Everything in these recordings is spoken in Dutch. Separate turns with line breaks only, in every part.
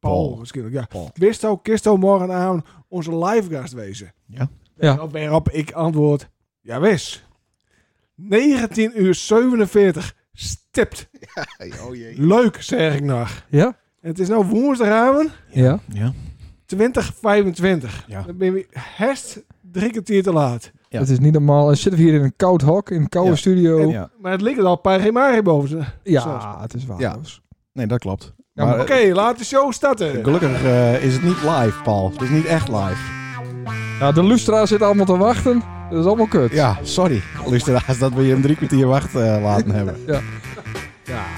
Paul, waarschijnlijk, ja. Wist zou Kisto morgen aan onze livegast wezen?
Ja.
Waarop- Waarop ik antwoord, ja wist. 19 uur 47, stipt.
Oh jee.
Leuk, zeg ik nog.
Ja?
Het is nou woensdagavond,
Ja?
Ja.
2025.
Ja.
Dan ben je herst drie kwartier te laat.
Ja.
Het is niet normaal. En zitten we hier in een koud hok, in een koude
Ja.
studio. Ja,
Ja.
Maar het ligt al Parimari boven ze.
het is waar.
Ja.
jongens.
Nee, dat klopt.
Ja,
maar
maar-
Oké, laat de show starten.
gelukkig eh, is het niet live, Paul. Het is niet echt live.
Ja, de Lustra zit allemaal te wachten. Dat is allemaal kut.
eh, Ja, sorry. Luisteraars, dat we je een drie kwartier wacht eh, laten hebben.
Ja.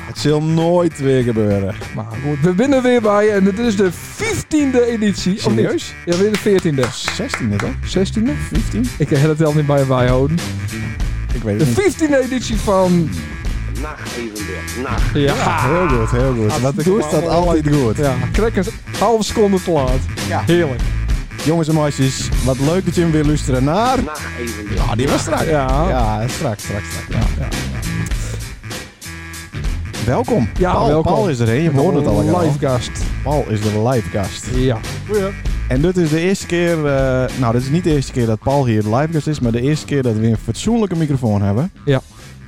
Het zal nooit weer gebeuren.
Maar goed, we winnen weer bij en dit is de 15e editie. Of niet?
Serieus?
Ja, weer de 14e.
16 toch?
16e?
15?
Ik heb het wel niet bij bijhouden.
Ik weet
De
het niet.
15e editie van...
Nacht evenbeeld. Nacht.
Ja.
Heel goed, heel goed. Wat
Hartstikke
doet Ah. dat
allemaal
altijd goed.
Ja, krekkers. Halve seconde te laat.
Ja.
Heerlijk.
Jongens en meisjes, wat leuk dat je hem weer luisteren naar...
Nacht evenbeeld.
Ah, die was strak.
Ja. ja.
Ja, straks, straks, straks. Ja, ja, ja. Welkom.
Ja,
Paul,
welkom.
Paul is er, hè? Je hoort het al.
Live
Live
gast.
Paul is de livecast.
Ja.
En dit is de eerste keer... eh, nou, dit is niet de eerste keer dat Paul hier de livecast is... maar de eerste keer dat we een fatsoenlijke microfoon hebben.
Ja.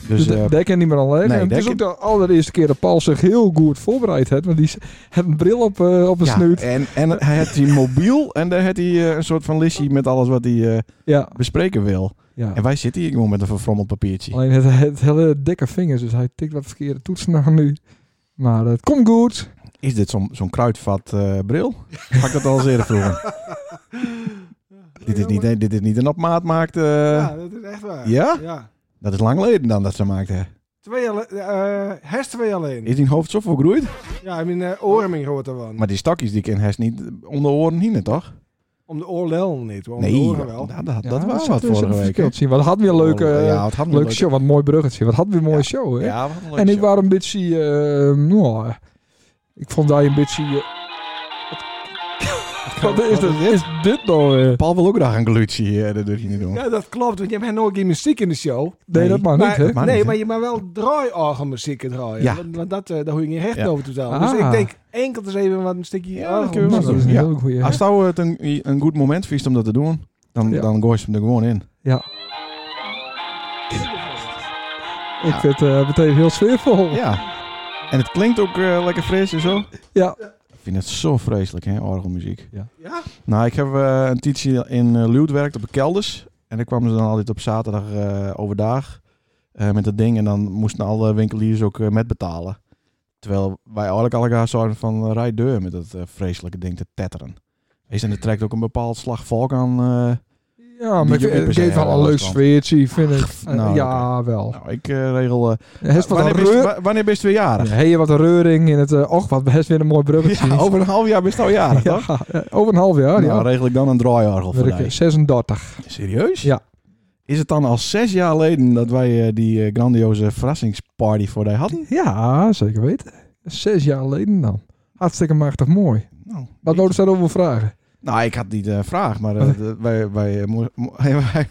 Dus,
Dus
eh,
dat dat kan niet meer alleen.
nee,
en het
dat
is ook
kan-
de allereerste keer dat Paul zich heel goed voorbereid heeft. Want die s- heeft een bril op, eh, op een
ja,
snuit.
en, en hij heeft die mobiel en daar heeft hij eh, een soort van listje met alles wat hij eh,
Ja.
bespreken wil.
ja.
En wij zitten hier gewoon met een verfrommeld papiertje.
Alleen het, het hele dikke vingers, dus hij tikt wat verkeerde toetsen naar nu. Maar het komt goed.
Is dit zo'n zo'n kruidvat eh, bril? Had ik dat al eens eerder vroegen. dit, is niet, dit is niet een op maat maakt. eh,
Ja, dat is echt waar.
Ja?
Ja.
Dat is lang geleden dan dat ze maakte.
Twee alle- eh, herst twee alleen.
Is die hoofd zo vergroeid?
Ja, mijn eh oorming hoort ervan.
Maar die stokjes die kan herst niet onder oren heen, toch?
Om de oorlel niet, maar om de
nee,
oren wel.
dat, dat, dat
Ja,
was
zat
wat
dus een
vorige week. Oh,
verschil te zien. Wat had weer een leuke,
ja, het had een eh,
leuke
leuke
show. Wat een mooi bruggetje. Wat had weer een mooie show. Hè?
Ja, wat een leuke
en ik
show.
was een beetje... eh, nou, ik vond daar een beetje... eh, wat is,
wat
dit? is dit nou weer?
Paul wil ook graag een glutje eh dat doet hij niet doen.
Ja, dat klopt, want je hebt nooit geen muziek in de show.
Nee, dat mag niet,
Maar,
hè?
mag
nee,
niet, hè?
maar je mag wel draaiorgelmuziek draaien.
Ja.
Want, want dat, eh, daar hoor je geen recht
Ja.
over te zijn. Dus
Ah.
ik denk enkel eens even wat een stukje
Ja,
orgel-
dat kunnen we
Nou,
wel
dat is een
Ja.
hele goeie. hè?
Als nou het een, een goed moment vies om dat te doen, dan,
Ja.
dan gooi je hem er gewoon in.
Ik vind het eh, meteen heel sfeervol. Ja.
Ja. En het klinkt ook eh, lekker fris en zo. Ik vind het zo vreselijk, hè, orgelmuziek.
Ja?
Nou, ik heb eh, een tijdje in eh, Leeuwarden werkt op de kelders. En daar kwamen ze dan altijd op zaterdag eh, overdag eh, met dat ding. En dan moesten alle winkeliers ook eh, met betalen. Terwijl wij eigenlijk allemaal zouden van eh, rij deur met dat eh, vreselijke ding te tetteren. Wees en het trekt ook een bepaald slag volk aan. eh,
Ja,
Die
maar ik-
heb ik per
het
se
geeft wel een
helemaal
leuk
last van.
sfeertje, vind ik.
nou,
Eh,
oké.
ja, wel.
nou, ik eh, regel... eh,
Hij is wat
wanneer,
een
ben je,
reur.
wa- wanneer ben je weer jarig?
Ja, Hé, wat een reuring in het... eh, och, wat best weer een mooi bruggetje.
Ja, over een half jaar ben je al jarig,
Ja,
toch?
eh, over een half jaar,
Nou,
ja.
regel ik dan een draaiorgel voor
Werk
jou.
ik eh, 36.
Serieus?
Ja.
Is het dan al zes jaar geleden dat wij eh, die eh, grandioze verrassingsparty voor jou hadden?
Ja, zeker weten. Zes jaar geleden dan. Hartstikke machtig mooi.
Nou,
Wat
weet-
nodig ze daarover vragen?
nou, ik had niet eh vraag, maar eh, d- wij, wij, eh, mo- mo- wij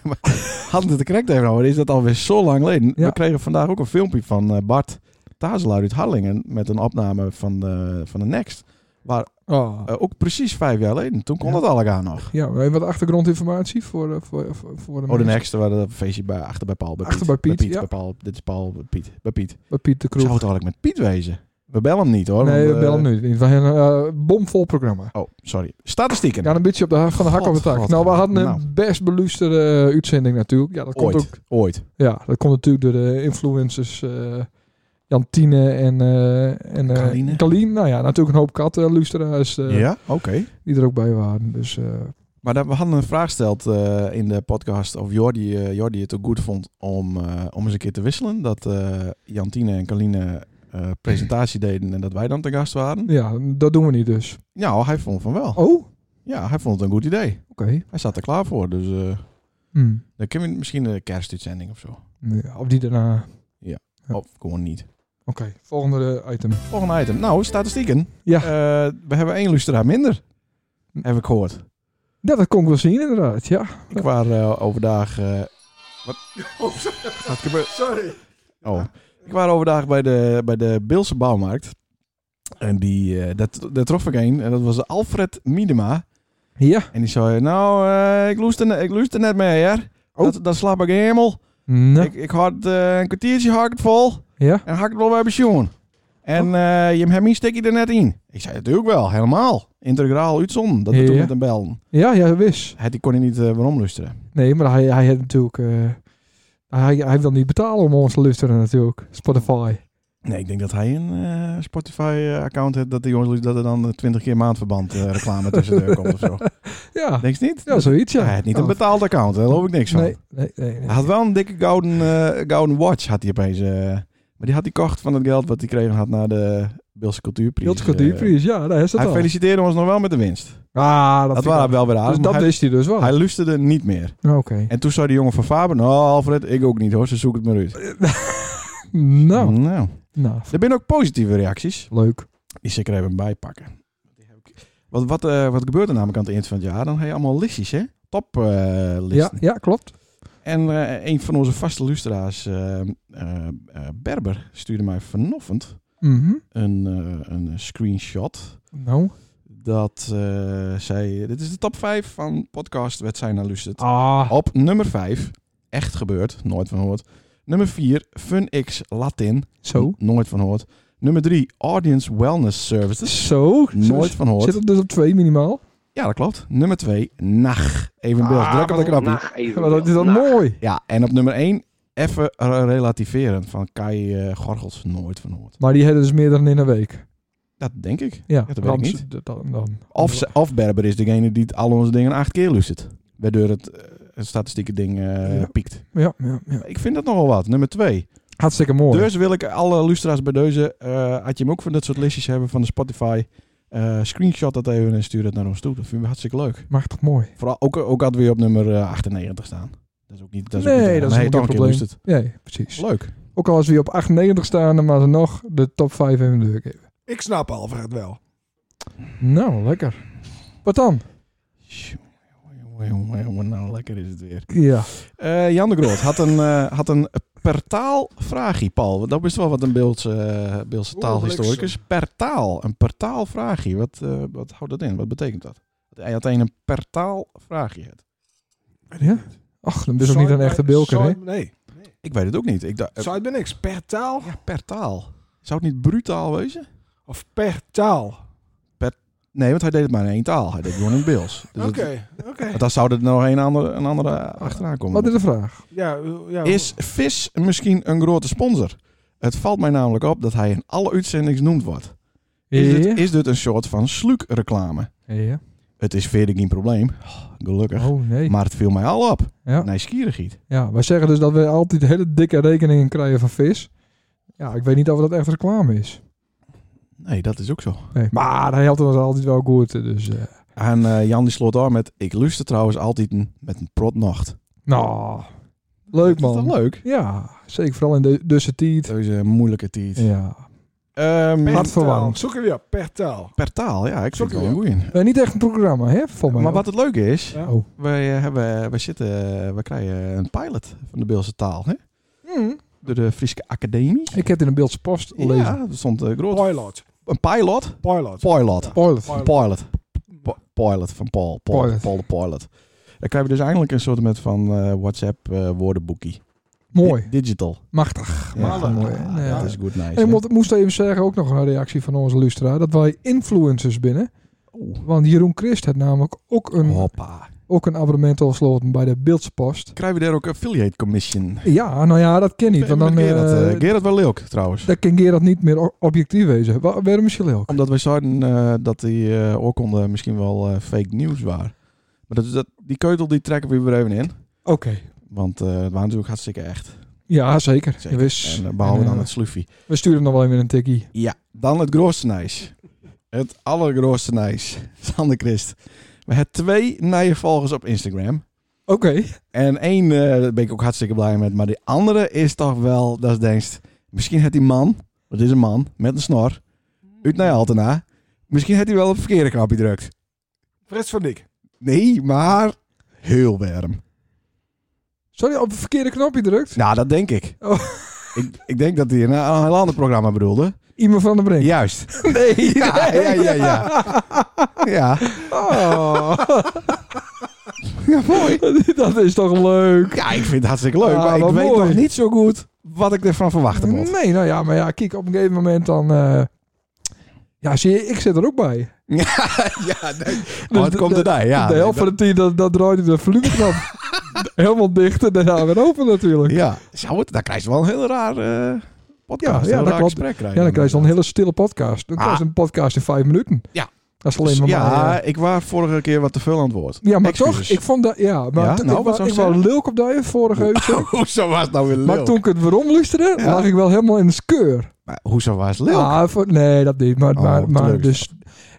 hadden het er correct even over. Is dat alweer zo lang geleden?
Ja.
We kregen vandaag ook een filmpje van eh, Bart Tazelaar uit Harlingen met een opname van de, van de Next. Waar
Oh.
eh, ook precies vijf jaar geleden, toen kon
Ja.
dat al elkaar nog.
Ja, we hebben wat achtergrondinformatie voor, eh, voor, voor, voor de
Oh, de
mensen.
Next, waar dat feestje bij, achter bij Paul. Bij
Achter
Piet,
bij Piet,
bij
ja.
Paul, dit is Paul, bij Piet, bij Piet.
Bij Piet de
Zou
Kroeg.
het eigenlijk met Piet wezen? We bellen hem niet hoor.
Nee,
want,
we
eh,
bellen nu niet. We hebben een eh, bomvol programma.
Oh, sorry. Statistieken.
Ja, een beetje op de, ha- van de hak op de tak.
God,
nou, we hadden een
nou.
best beluisterde eh, uitzending natuurlijk. Ja, dat komt
ooit.
ook
Ooit.
Ja, dat komt natuurlijk door de influencers eh Jantine en, eh en eh,
Kaline.
Kaline. Nou ja, natuurlijk een hoop kattenluisteraars eh
ja, oké.
die er ook bij waren. Dus eh,
Maar daar- we hadden een vraag gesteld eh, in de podcast of Jordi, eh, Jordi het ook goed vond om, eh, om eens een keer te wisselen. Dat eh, Jantine en Kaline eh, presentatie deden en dat wij dan te gast waren.
ja, dat doen we niet dus.
Nou, hij vond van wel.
Oh, oké.
Ja, hij vond het een goed idee. Hij zat er klaar voor, dus eh,
Hm.
dan kunnen we misschien een kerstuitzending of zo.
Ja, of die daarna. Oké, Ja.
Of gewoon niet.
volgende eh, item.
Volgende item. Nou, statistieken.
Ja.
Eh, we hebben één luisteraar minder, heb ik gehoord.
Ja, dat kon ik wel zien inderdaad, ja.
Ik was eh, overdag. eh, wat? Wat gebeurt?
Sorry.
Oh. Ik was overdag bij de, bij de Beelse bouwmarkt. En die, eh, dat, dat trof ik een. En dat was Alfred Miedema.
Ja.
En die zei, nou, eh, ik luister ne- ik luister net mee, hè.
Oh.
Dat, dat slaap ik helemaal.
Nou,
Ik, ik had eh, een kwartiertje hak het vol.
ja.
En hak het wel bij pensioen. En eh, je hebt mijn stikje er net in. Ik zei, natuurlijk wel, helemaal. Integraal uitzon. Dat doet
Ja.
met een bel.
Ja, ja, wist.
Het, die kon hij niet eh waarom luisteren.
Nee, maar hij, hij heeft natuurlijk... eh, hij, hij wil niet betalen om ons te luisteren natuurlijk. Spotify.
Nee, ik denk dat hij een eh, Spotify-account heeft. Dat, die jongens, dat er dan eh, 20 keer maandverband eh, reclame tussen de komt of zo.
Ja,
Denk je niet?
ja zoiets ja.
Hij heeft niet
Ja.
een betaald account, daar geloof ik niks van.
Nee, nee, nee. nee.
Hij had wel een dikke golden, eh, golden watch, had hij opeens. eh. maar die had hij kocht van het geld wat hij kregen had na de Beelse Cultuurprijs.
Hield cultuurprijs, ja, daar is
Eh,
dat
hij
al.
feliciteerde ons nog wel met de winst.
Ah,
Dat,
dat,
waren
vind ik
wel weer
wel.
aan.
Dus dat
hij,
wist hij dus wel.
hij luisterde niet meer.
Oké.
En toen zei die jongen van Faber, nou Alfred, ik ook niet hoor, ze zoeken het maar uit.
Nou,
nou.
nou,
Er zijn ook positieve reacties.
leuk.
Die zeker even bijpakken. Wat, wat, eh, wat gebeurt er namelijk aan het eind van het jaar? Dan heb je allemaal listjes, hè? Top eh,
Ja,
listen.
ja, klopt.
En eh, een van onze vaste luisteraars, eh, eh, eh, Berber, stuurde mij vanochtend
Mhm.
een, eh, een screenshot.
Nou.
Dat eh, zij, dit is de top 5 van podcast Wet Zijn naar Lustert.
Ah,
Op nummer 5, echt gebeurd, nooit van hoort. Nummer 4, FunX Latin,
zo.
nooit van hoort. Nummer 3, Audience Wellness Services,
Zo.
nooit van hoort.
Zit het dus op twee minimaal?
Ja, dat klopt. Nummer 2, NAG, even beeld,
Ah,
druk op de knopje.
Nacht even
Maar dat is
nou.
dan mooi.
Ja, en op nummer 1, even re- relativeren van Kai eh, Gorgels, nooit van hoort.
Maar die hebben dus meer dan in een week.
Dat denk ik.
Ja,
dat weet ik
dan-
niet.
Dan, dan,
Of, ze- of Berber is degene die het- al onze dingen acht keer luistert. Waardoor het, eh, het statistieke ding eh,
Ja.
piekt.
Ja, ja, ja.
Ik vind dat nogal wat. Nummer 2.
Hartstikke mooi.
Dus wil ik alle luisteraars bij deze, eh had je hem ook van dat soort listjes hebben van de Spotify, eh, screenshot dat even en stuur dat naar ons toe. Dat vinden we hartstikke leuk.
Machtig mooi.
Vooral ook, ook hadden we op nummer eh, 98 staan. Dat is ook niet. Dat is ook
Nee,
niet
dat is
maar
helemaal
hey, toch
geen
een keer
probleem.
luistert.
Nee, precies.
Leuk.
Ook al als we op 98 staan, dan maar ze nog de top 5 even doorgeven.
Ik snap Alfred wel.
Nou, lekker. Wat dan?
Jongen, jongen, jongen, nou lekker is het weer.
Ja.
Eh, Jan de Groot had een, eh, had een per taal vraagje, Paul. Dat is wel wat een Beeldse, eh, Beeldse
Oeh,
taalhistoricus. Per taal, een per taal vraagje. Wat, eh, wat houdt dat in? Wat betekent dat? Hij had een per taal vraagje.
Ja? Ach, dan ben je ook niet een echte bilker, hè?
Nee,
Ik weet het ook niet. Ik dacht, eh,
Zuid ben niks. Per taal
ja, per taal. Zou het niet brutaal wezen?
of per taal?
Nee, want hij deed het maar in één taal. Hij deed het gewoon in het Beels. Dus
Oké, Ah,
dat-
oké.
want dan zou er nog een andere, een andere achteraan komen.
Wat is de vraag?
Ja, eh,
Oh.
ja,
Is vis misschien een grote sponsor? Het valt mij namelijk op dat hij in alle uitzendingen genoemd wordt. Is, dit, is dit een soort van slukreclame?
Ja.
Het is verder geen probleem, oh, gelukkig.
Oh, nee.
Maar het viel mij al op.
Ja.
Nieuwsgierigheid.
Ja, wij zeggen dus dat we altijd hele dikke rekeningen krijgen van vis. Ja, ik weet niet of dat echt reclame is.
Nee, dat is ook zo.
Nee, maar hij helpt ons altijd wel goed. Dus, eh,
En eh, Jan die sloot af met... Ik luister trouwens altijd een- met een protnacht.
nou, leuk
Dat
man.
is toch leuk?
Ja, zeker vooral in de dusse tijd.
Deze moeilijke tijd.
Ja.
Ehm,
per
Hard verwarmd.
taal. Zoeken we ja, per taal.
per taal, ja. Ik
Zo
vind het wel
kun
een
je.
goeie.
Eh, niet echt een programma, hè? Volgens mij.
Maar wat het leuke is...
Ja.
Oh.
Wij, eh, hebben, wij, zitten, wij krijgen een pilot van de Beelse taal. Hè?
Hm,
Door de Friese Academie.
Ik heb het in een beeldse post gelezen.
Ja, er stond eh, groot.
Pilot.
Een pilot.
Pilot.
Pilot.
Spoiler.
Pilot.
Pilot. Po- Pilot van Paul. Paul,
Pilot.
Paul de Pilot. Dan krijgen we dus eindelijk een soort met van eh, WhatsApp eh, woordenboekje.
Mooi.
Di- digital.
Machtig.
malen.
mooi.
Ja,
Ah,
ja.
Dat is goed nice.
En ik
hè?
mo- moest even zeggen, ook nog een reactie van onze luisteraar, dat wij influencers binnen.
Oeh.
Want Jeroen Christ had namelijk ook een,
Hoppa.
ook een abonnement afgesloten bij de Beeldse Post.
Krijgen we daar ook affiliate commission?
Ja, nou ja, dat ken niet. Want dan, eh
Gerard, eh, Gerard wel leuk trouwens.
dan kan Gerard niet meer o- objectief wezen. Wa- Waarom is je leuk?
Omdat wij zouden eh, dat die eh, oorkonden misschien wel eh, fake nieuws waren. Maar dat, is dat, die keutel die trekken we weer even in.
Oké.
Want eh het waren natuurlijk hartstikke echt.
Ja, zeker.
Zeker.
Wist.
En eh, behouden
En,
dan
eh,
het sluffie.
We sturen nog wel even een tikkie.
Ja, dan het grootste nijs. Het allergrootste nijs. Sander Christ. We hebben twee nieuwe volgers op Instagram.
Oké.
En één, eh, daar ben ik ook hartstikke blij met. Maar die andere is toch wel, dat is denkst. Misschien heeft die man, wat is een man, met een snor, uit naar Altena. Misschien heeft hij wel op het verkeerde knopje drukt.
Frits van Dijk.
Nee, maar heel warm.
Sorry, op het verkeerde knopje drukt.
Nou, dat denk ik.
Oh.
Ik, ik denk dat hij een, een heel ander programma bedoelde.
Iemand van de Brink.
Juist.
Nee.
Ja, ja, ja, ja. Ja.
Oh.
ja, mooi.
dat is toch leuk.
Ja, ik vind het hartstikke leuk.
Ah,
maar ik
wat
weet
mooi.
nog niet zo goed wat ik ervan verwachten moet.
Nee, nou ja, maar ja, kijk, op een gegeven moment dan... eh, ja, zie je, ik zit er ook bij.
ja, nee.
Dus
Oh, het
de-
komt
de-
erbij. Ja,
de
nee,
helft van
dat-
de team, dat, dat draait de volumeknop helemaal dicht en daarna weer open natuurlijk. Ja,
Ja, zou het, dan krijg je wel een heel raar eh
Ja,
podcast.
ja,
een heel
dat
raar
klopt.
gesprek krijg
dan krijg je dan
inderdaad.
een hele stille podcast. Dan
Ah.
krijg je een podcast in vijf minuten.
Ja.
Dat is alleen maar
Dus
mij,
ja,
eh.
ik was vorige keer wat te veel aan het woord.
Ja, maar
Excuses.
toch, ik vond dat... Ja, maar
Ja,
toen-
nou,
ik,
wat
wa-
zou
ik
je
was leuk op dat vorige week.
Hoezo was het nou weer leuk?
Maar toen ik het weer omluisterde,
Ja.
lag ik wel helemaal in de skeur.
Maar hoezo was het leuk?
Ah, voor- nee, dat niet. Maar,
Oh,
maar,
wat
maar
leuk.
dus...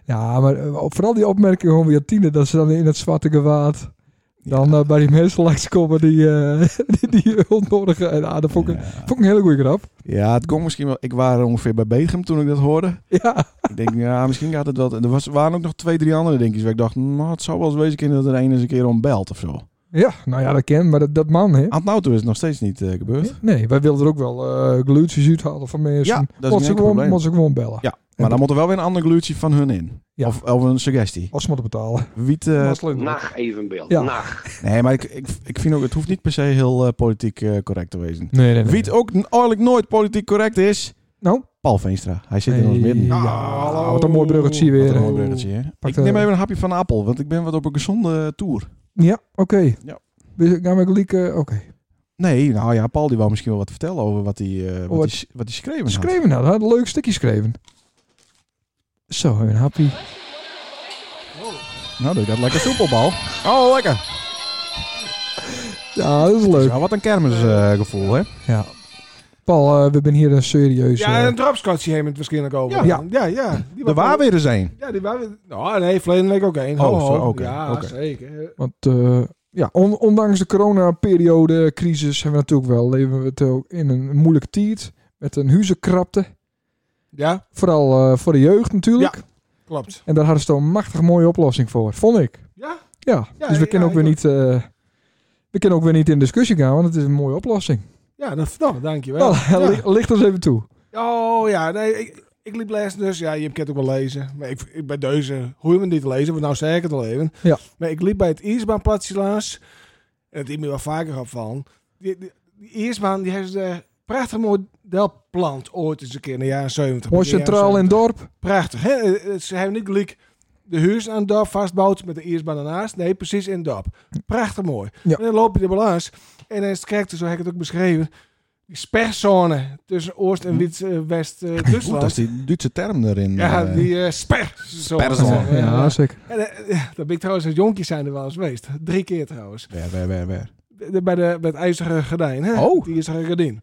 Ja, maar eh, vooral die opmerking van Jantine, dat ze dan in het zwarte gewaad... Dan eh, bij die mensen langskomen die, eh die, die onnodige... En, ah, dat vond ik,
Ja.
vond ik een hele goede grap.
Ja, het kon misschien wel. Ik was ongeveer bij Begum toen ik dat hoorde.
Ja,
ik denk, ja, misschien gaat het wel. Er was, waren ook nog twee, drie andere dingetjes waar ik dacht, nou, het zou wel eens wezen kunnen dat er een eens een keer ontbelt of zo.
ja nou ja, dat ken maar dat, dat man, hè.
Aan het nou toe is het nog steeds niet eh, gebeurd.
Nee, wij wilden er ook wel eh glutjes uithalen van mensen.
Ja, dat is
Mocht
geen
dus ze gewoon,
probleem.
mocht ze gewoon bellen.
Ja, maar dan moet er wel weer een ander gluutje van hun in.
Ja.
Of, of een suggestie.
Als ze moeten betalen.
Wiet, eh,
Dat is leuk.
Nacht evenbeeld.
Ja.
Nacht.
nee, maar ik, ik, ik vind ook, het hoeft niet per se heel eh, politiek eh, correct te wezen.
Nee, nee, nee.
Wiet ook n- eigenlijk nooit politiek correct is,
Nou?
Paul Veenstra. Hij zit in ons
Hey,
midden.
ja,
hallo.
Wat een mooi bruggetje
Wat
weer.
een
hè.
mooi bruggetje, hè?
Pak
Ik
de-
neem even een hapje van de appel, want ik ben wat op een gezonde tour.
Ja, oké.
Ja.
We gaan met Lieke... Oké.
Nee, nou ja, Paul die wou misschien wel wat vertellen over wat hij, eh, wat
Oh, Wat-
hij, wat hij schreven had.
Schreven nou, had een leuk stukje schreven. Zo, een happy.
Nou, dat gaat lekker soepel, Paul. Oh, lekker.
Ja, dat is
Is
leuk.
wel wat een kermisgevoel, hè?
Ja. Paul, eh, we zijn hier een serieus.
Ja, en
eh,
een dropscotje heeft het waarschijnlijk over.
Ja.
ja. ja die
Er waren weer eens een.
Ja, die waren Nou, nee, verleden week ook één.
Oh,
Ho, ho.
zo, oké,
Ja,
oké.
zeker.
want eh, ja, on- ondanks de coronaperiode, crisis, hebben we natuurlijk wel leven we het ook in een moeilijke tijd met een huizenkrapte.
Ja,
Vooral eh, voor de jeugd natuurlijk.
klopt.
En daar hadden ze toch een machtig mooie oplossing voor, vond ik.
Ja?
Ja.
Ja,
dus we
ja,
kunnen ook
ik
weer
ook.
niet. eh, we kunnen ook weer niet in discussie gaan, want het is een mooie oplossing.
Ja, dat, nou, dankjewel.
Nou,
Ja.
li- licht ons even toe.
Oh ja, nee, ik, ik liep lezen dus. Ja, je kent ook wel lezen. Maar ik, ik bij deze, hoe je me niet te lezen, want nou zei ik het al even.
Ja.
Maar ik liep bij het Iersbaanplatsje langs. En het is me wel vaker opvallen. Die, die, die Iersbaan, die heeft een prachtig modelplant ooit eens een keer in de jaren 70.
Mooi
begin jaren
centraal in het
70.
dorp.
Prachtig, hè? Eh, eh, Ze hebben niet gelijk de huis aan het dorp vastbouwt met de Iersbaan daarnaast. Nee, precies in het dorp. Prachtig mooi.
Ja.
En dan loop je de balans en dan krijg je, zo heb ik het ook beschreven, die sperzone tussen Oost- en Wit- eh,
Oeh, dat is
West-Duitsland.
die Duitse term erin.
ja,
eh.
die eh sperzone.
Sperzone,
Ja,
Ja, zeker.
En, eh, ja, dat ben ik trouwens als jonkje zijn er wel eens geweest. Drie keer trouwens
Weer, weer, weer, weer.
de, bij, de, bij het IJzeren Gordijn. Hè?
Oh.
Die IJzeren Gordijn.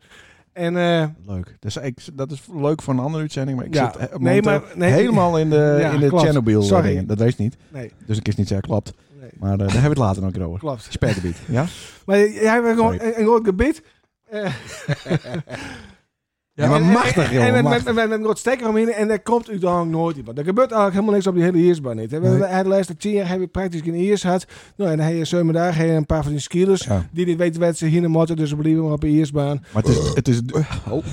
En eh,
Leuk. Dus ik, dat is leuk voor een andere uitzending, maar ik
Ja.
zit eh,
Nee, maar-
momenteel
nee.
helemaal in de,
Ja,
in de
klopt.
Chernobyl. eh,
Sorry.
dingen. Dat weet je niet.
nee,
Dus ik is niet zeggen, klopt.
nee,
Maar eh, daar hebben we het later nog een keer over.
klopt.
Spergebied, ja?
Maar jij hebt gewoon
Sorry.
een, een groot gebied. Eh,
Ja, maar
en- en-
machtig,
En,
jongen,
en,
machtig.
met, met, met een groot stekker omheen en daar komt u dan nooit iemand. Er gebeurt eigenlijk helemaal niks op die hele eersbaan niet. hè. We
Nee.
hebben de laatste tien jaar hebben we praktisch geen eers gehad. Nou, en dan heb je zeven dagen heb je een paar van die skiers
Ja.
die niet weten wat ze hier in de motor, dus ze blijven maar op de eersbaan.
Maar het is het, is, het, du-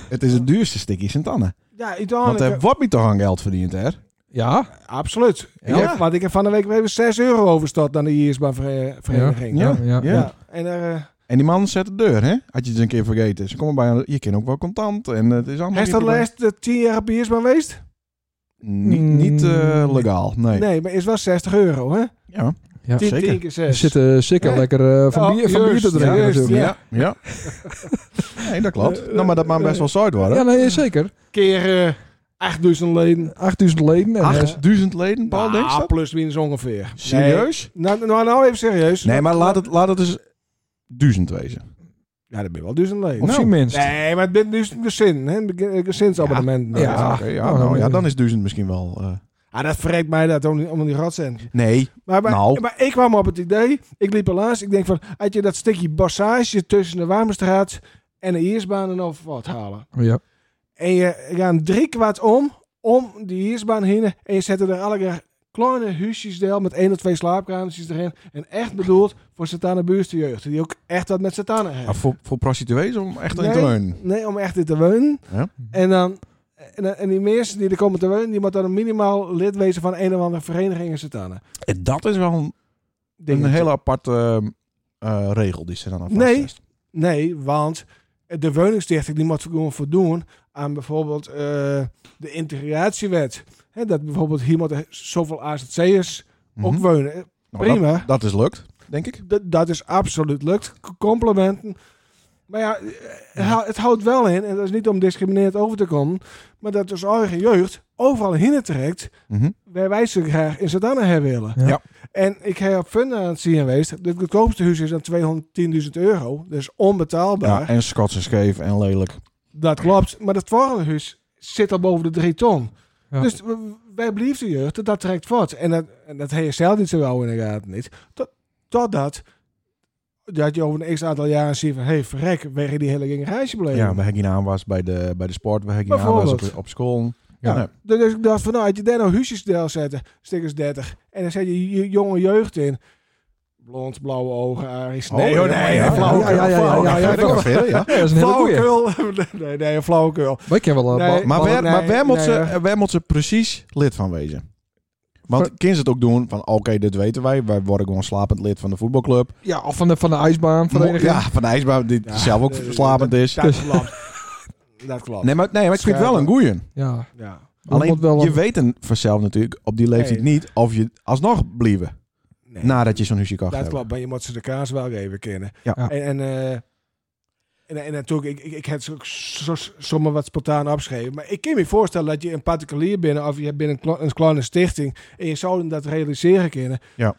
het, is het duurste stikje in Tanne.
Ja,
Want eh,
uiteindelijk...
er
eh,
wordt niet toch aan geld verdiend, hè?
Ja,
absoluut. Ik
Ja.
heb, want ik heb van de week weer even 6 euro overstort aan de eersbaanvereniging.
Ja, ja,
Ja.
ja.
En daar... eh,
En die man zet de deur, hè? Had je het eens een keer vergeten. Ze komen bij een, je kent ook wel contant en het is allemaal...
Hij is
niet
dat de
legaal.
laatste tien jaar op de eersbaan geweest?
Niet, niet eh,
Mm.
legaal, nee.
Nee, maar is wel 60 euro, hè?
Ja,
Ja,
Tien-
zeker.
tien keer
Er
zes.
zitten zeker
Ja.
lekker eh, van,
Oh,
bier, van bier te
juist,
drinken
juist,
natuurlijk.
ja. ja. nee, dat klopt. nou, maar dat mag best wel zout worden.
Ja, nee, zeker.
keer eh 8000 leden.
8000 leden. En, eh,
8000 leden, Paul, denk je
Ah,
dat?
plus minus ongeveer.
Serieus?
Nee. Nou, nou, nou even serieus.
Nee, maar laat het, laat het eens duizend wezen.
Ja, dat ben je wel dus duizend leden.
op
nou.
zijn minst.
Nee, maar het bent dus een gezin, hè? Een ge- een gezinsabonnement.
Ja.
Ja.
Oké, ja,
Oh,
nou, ja,
nee.
dan is duizend misschien wel... eh,
Ah, dat vreet mij dat om, die- om die ratcent.
nee,
Maar, maar,
Nou.
maar ik kwam op het idee, ik liep er langs, ik denk van, had je dat stukje bassage tussen de Warmestraat en de Iersbaan en over wat halen?
Ja.
En je gaat drie kwart om, om die Iersbaan heen en je zet er alle kleine huisjes deel met één of twee slaapkamertjes erin. En echt bedoeld voor Satana buurtjeugd, die ook echt wat met Satana hebben.
maar voor, voor prostituees om echt in
Nee.
te leunen.
Nee, om echt in te wonen.
Ja. Mhm.
En dan... en, en die mensen die er komen te wonen, die moeten dan minimaal lid wezen van een of andere vereniging in Satanen.
En Eh, dat is wel een, een hele aparte eh, eh, regel die ze dan aan
Nee.
vastlegt.
Nee, want de woningstichting die moet gewoon voldoen aan bijvoorbeeld eh, de integratiewet. Hè, dat bijvoorbeeld hier moeten zoveel AZC'ers
Mhm.
ook wonen.
Nou, dat-
Prima.
Dat is lukt, denk ik.
Dat, dat is absoluut lukt. C- Complimenten. Maar ja, eh, het hou- het houdt wel in, en dat is niet om discriminerend over te komen, maar dat dus eigen jeugd overal heen trekt
Mhm.
waar wij ze graag in Zodanen hebben willen.
Ja.
Ja.
En ik heb op Funda aan het zien geweest, het goedkoopste huis is dan 210.000 euro, dus onbetaalbaar.
Ja, en schots en scheef en lelijk.
Dat klopt, maar dat volgende huis zit al boven de drie ton.
Ja.
Dus w- w- wij blijven de jeugd, dat trekt voort. En dat, en dat heb je zelf niet zo wel in de gaten niet. Tot, totdat dat je over een x aantal jaren ziet van... hé, hey, verrek, weg in die hele gingerijsje bleven.
Ja, bij Heggie nou aan was bij de, bij de sport, bij Heggie nou aan was
Bijvoorbeeld.
op, op school.
Ja.
Ja, nee.
Dus dus ik dacht van, nou, had je daar nou huisjesdeel zetten, stickers 30... en dan zet je je jonge jeugd in... Blond, blauwe ogen, Aries. Nee,
Oh,
hoor, nee,
ja, ja,
flauwekul,
ja, ja, ja, ja,
flauwekul.
Nou,
ja, ja,
verder,
ja.
kan verder, ja.
Ja, dat is een hele goeie.
Flauwekul. Nee, nee, flauwekul.
Wij kennen wel... eh,
Nee,
ba-
Maar
ba-
nee,
waar, maar waar, moet
nee, eh.
ze, waar moet ze precies lid van wezen? Want
Van-
kunnen ze het ook doen van, oké, dit weten wij. Wij worden gewoon slapend lid van de voetbalclub.
ja, of van de, van de ijsbaanvereniging.
Ja, van de ijsbaan, die
Ja,
zelf ook
eh,
slapend is. dus-
Dat klopt. Dat klopt.
Nee, maar, nee, maar ik vind het wel een goeie.
ja.
Ja.
dat
Alleen,
moet wel
je
een-
weet een vanzelf natuurlijk op die leeftijd
Nee.
niet of je alsnog blieven.
Nee,
Nadat je zo'n huisje kan
dat
hebben.
klopt, maar je moet ze de kaas wel even kennen.
Ja.
Ja.
En, en, eh, en, en natuurlijk, ik, ik, ik heb ze ook zo- zomaar wat spontaan opgeschreven. Maar ik kan me voorstellen dat je een particulier binnen, of je hebt binnen een, kle- een kleine stichting, en je zou dat realiseren kunnen.
Ja.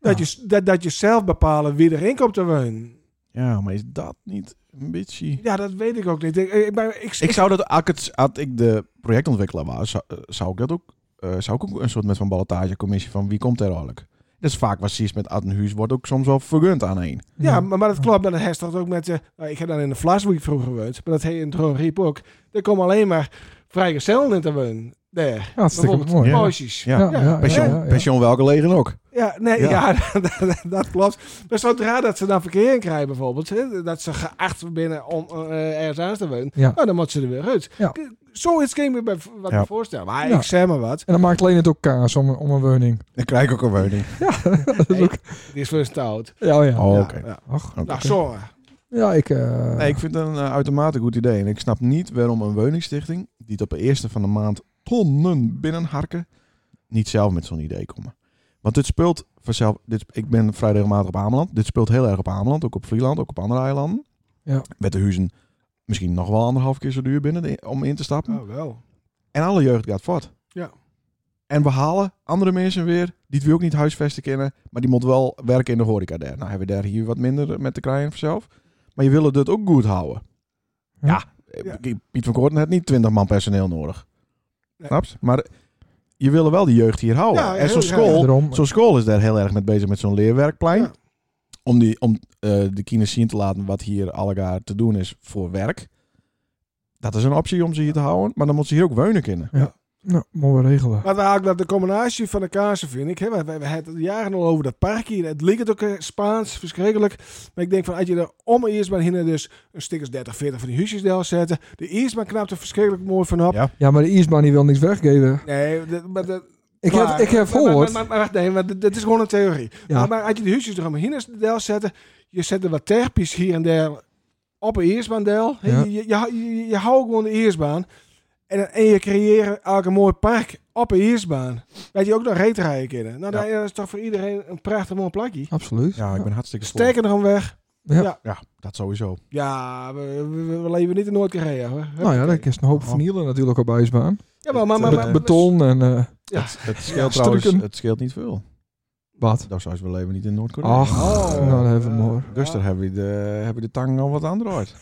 Dat,
Ja.
Je, dat, dat je zelf bepalen wie erin komt te wonen.
Ja, maar is dat niet een beetje...
Ja, dat weet ik ook niet. Ik, ik, maar ik,
Ik zou dat, als ik, het, als ik de projectontwikkelaar was, zou, eh, zou ik dat ook, eh, zou ik ook een soort met van ballotagecommissie van wie komt er eigenlijk? Dat is vaak wat precies met uit een huis wordt ook soms wel vergund aan
Oh,
een.
Ja, maar, maar dat klopt. Maar dat heeft toch ook met... eh, nou, ik heb dan in de Vlasweek vroeger gewoond. Maar dat heet in Droomriep ook. Er komen alleen maar vrijgezellen in te wonen. Daar.
Ja, hartstikke
Bijvoorbeeld
mooi.
Ja.
Poosjes. Ja.
Ja,
Ja, ja, ja,
pensioen,
ja, ja.
pensioen welke legen ook.
nee, ja,
Ja.
dat, dat- dat klopt. Maar zodra dat ze dan verkeering krijgen bijvoorbeeld... Hè, dat ze geacht worden binnen om eh, ergens aan te wonen...
Ja.
Nou, dan moet ze er weer uit.
Ja.
K- Zoiets kan ik me bij, wat
Ja.
me voorstellen. Maar
Ja.
ik zeg maar wat.
En dan maakt alleen het ook kaas om, om een woning.
Dan krijg ik ook een woning.
Dat is
Nee,
ook...
Die is voor een stout.
Ja, ja.
Oh,
Ja,
oké.
ja.
Ach,
Oké.
Nou, sorry.
ja, ik... eh,
Nee, ik vind het een eh, uitermate goed idee. En ik snap niet waarom een woningstichting, die het op de eerste van de maand tonnen binnenharken, niet zelf met zo'n idee komen. Want dit speelt vanzelf. Dit, ik ben vrij regelmatig op Ameland. Dit speelt heel erg op Ameland, ook op Vlieland, ook op andere eilanden.
Ja.
Met de huizen misschien nog wel anderhalf keer zo duur binnen de- om in te stappen.
Oh, wel.
En alle jeugd gaat voort.
Ja.
En we halen andere mensen weer, die we ook niet huisvesten kennen, maar die moet wel werken in de horeca daar. Nou hebben we daar hier wat minder met te krijgen vanzelf. Maar je wil het dus ook goed houden.
Ja.
Ja.
Ja.
eh, Piet van Koorten had niet 20 man personeel nodig.
Nee.
Snap je? Maar je wil wel die jeugd hier houden.
Ja,
en
heel
zo'n
graag.
school,
Daarom.
zo'n school is daar heel erg mee bezig met zo'n leerwerkplein.
Ja.
Om, die, om eh, de kinderen zien te laten wat hier allegaar te doen is voor werk. Dat is een optie om ze hier te houden. Maar dan moeten ze hier ook wonen kunnen.
Nou, moeten we regelen.
Wat we eigenlijk dat de combinatie van de kaarsen vind ik. Hè, we, we, we hadden het jaren al over dat park hier. Het leek het ook eh, Spaans, verschrikkelijk. Maar ik denk van, als je er om eerst maar hinnen dus een stickers 30, 40 van die huisjes deel zetten. De eerst maar knapt er verschrikkelijk mooi van op.
Ja.
Ja, maar de Iersman die wil niks weggeven.
Nee, dat- maar dat-
Ik heb,
maar-
ik heb
maar- maar-
gehoord.
Maar, maar, wacht, nee, maar dit, dit is gewoon een theorie.
Ja.
Maar, maar als je de huisjes er omheen deel zetten, je zet er wat terpies hier en daar op een eerstbaan deel. Hè,
Ja.
Je, je, je, je- je houdt gewoon de eerstbaan. En, en je creëert eigenlijk een mooi park op een eerstbaan. Weet je ook nog reet rijden kunnen. Nou,
Ja.
dat is toch voor iedereen een prachtig mooi plakje.
Absoluut.
Ja, ik ben hartstikke voor.
Sterker nog weg.
Ja, dat sowieso.
Ja, we, we, we leven niet in Noord-Korea hoor.
Nou ja, dat is een hoop
Oh.
vernielen natuurlijk op ijsbaan.
Ja, maar, maar, maar, maar-
Met beton en eh,
Ja.
Het, het scheelt
Ja,
trouwens
stukken.
het scheelt niet veel.
wat.
Dat zou we leven niet in Noord-Korea.
Ach,
Oh.
nou dat hebben we hem hoor.
Guster, hebben we de, hebben we de tang al wat aandraaid?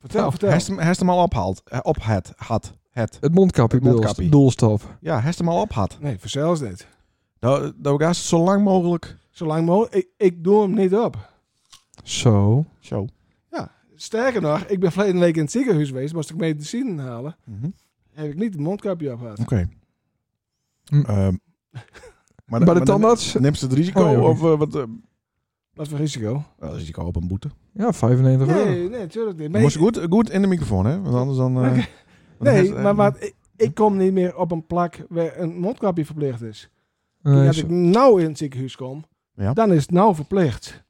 Vertel,
Nou,
vertel.
Hij heeft hem- hij heeft hem al ophaald. Eh, Op het, had, het.
Het mondkapje,
Het
bedoel-
mondkapje.
doelstop.
Ja, hij heeft hem al op had.
Nee, verzels dit.
Nou, nou, ga ze zo lang mogelijk.
Zolang mogelijk. Ik, ik doe hem niet op.
Zo.
Zo.
Sterker nog, ik ben verleden week in het ziekenhuis geweest, moest ik medicijn halen.
Mhm.
Heb ik niet het mondkapje op gehad.
Oké.
Hm.
Ehm, maar
Bij de
dan
tandarts?
neemt ze het risico
Oh, ja.
of eh, wat? eh,
Wat voor risico?
wel, risico op een boete.
Ja, 95 euro.
Nee, nee, natuurlijk niet.
Maar
Maar
moest
ik,
goed, goed in de microfoon, hè? Want anders dan. eh,
Nee, maar wat, ik, ik kom niet meer op een plak waar een mondkapje verplicht is.
Nee,
dat
zo-
ik nou in het ziekenhuis kom,
Ja.
dan is het nou verplicht.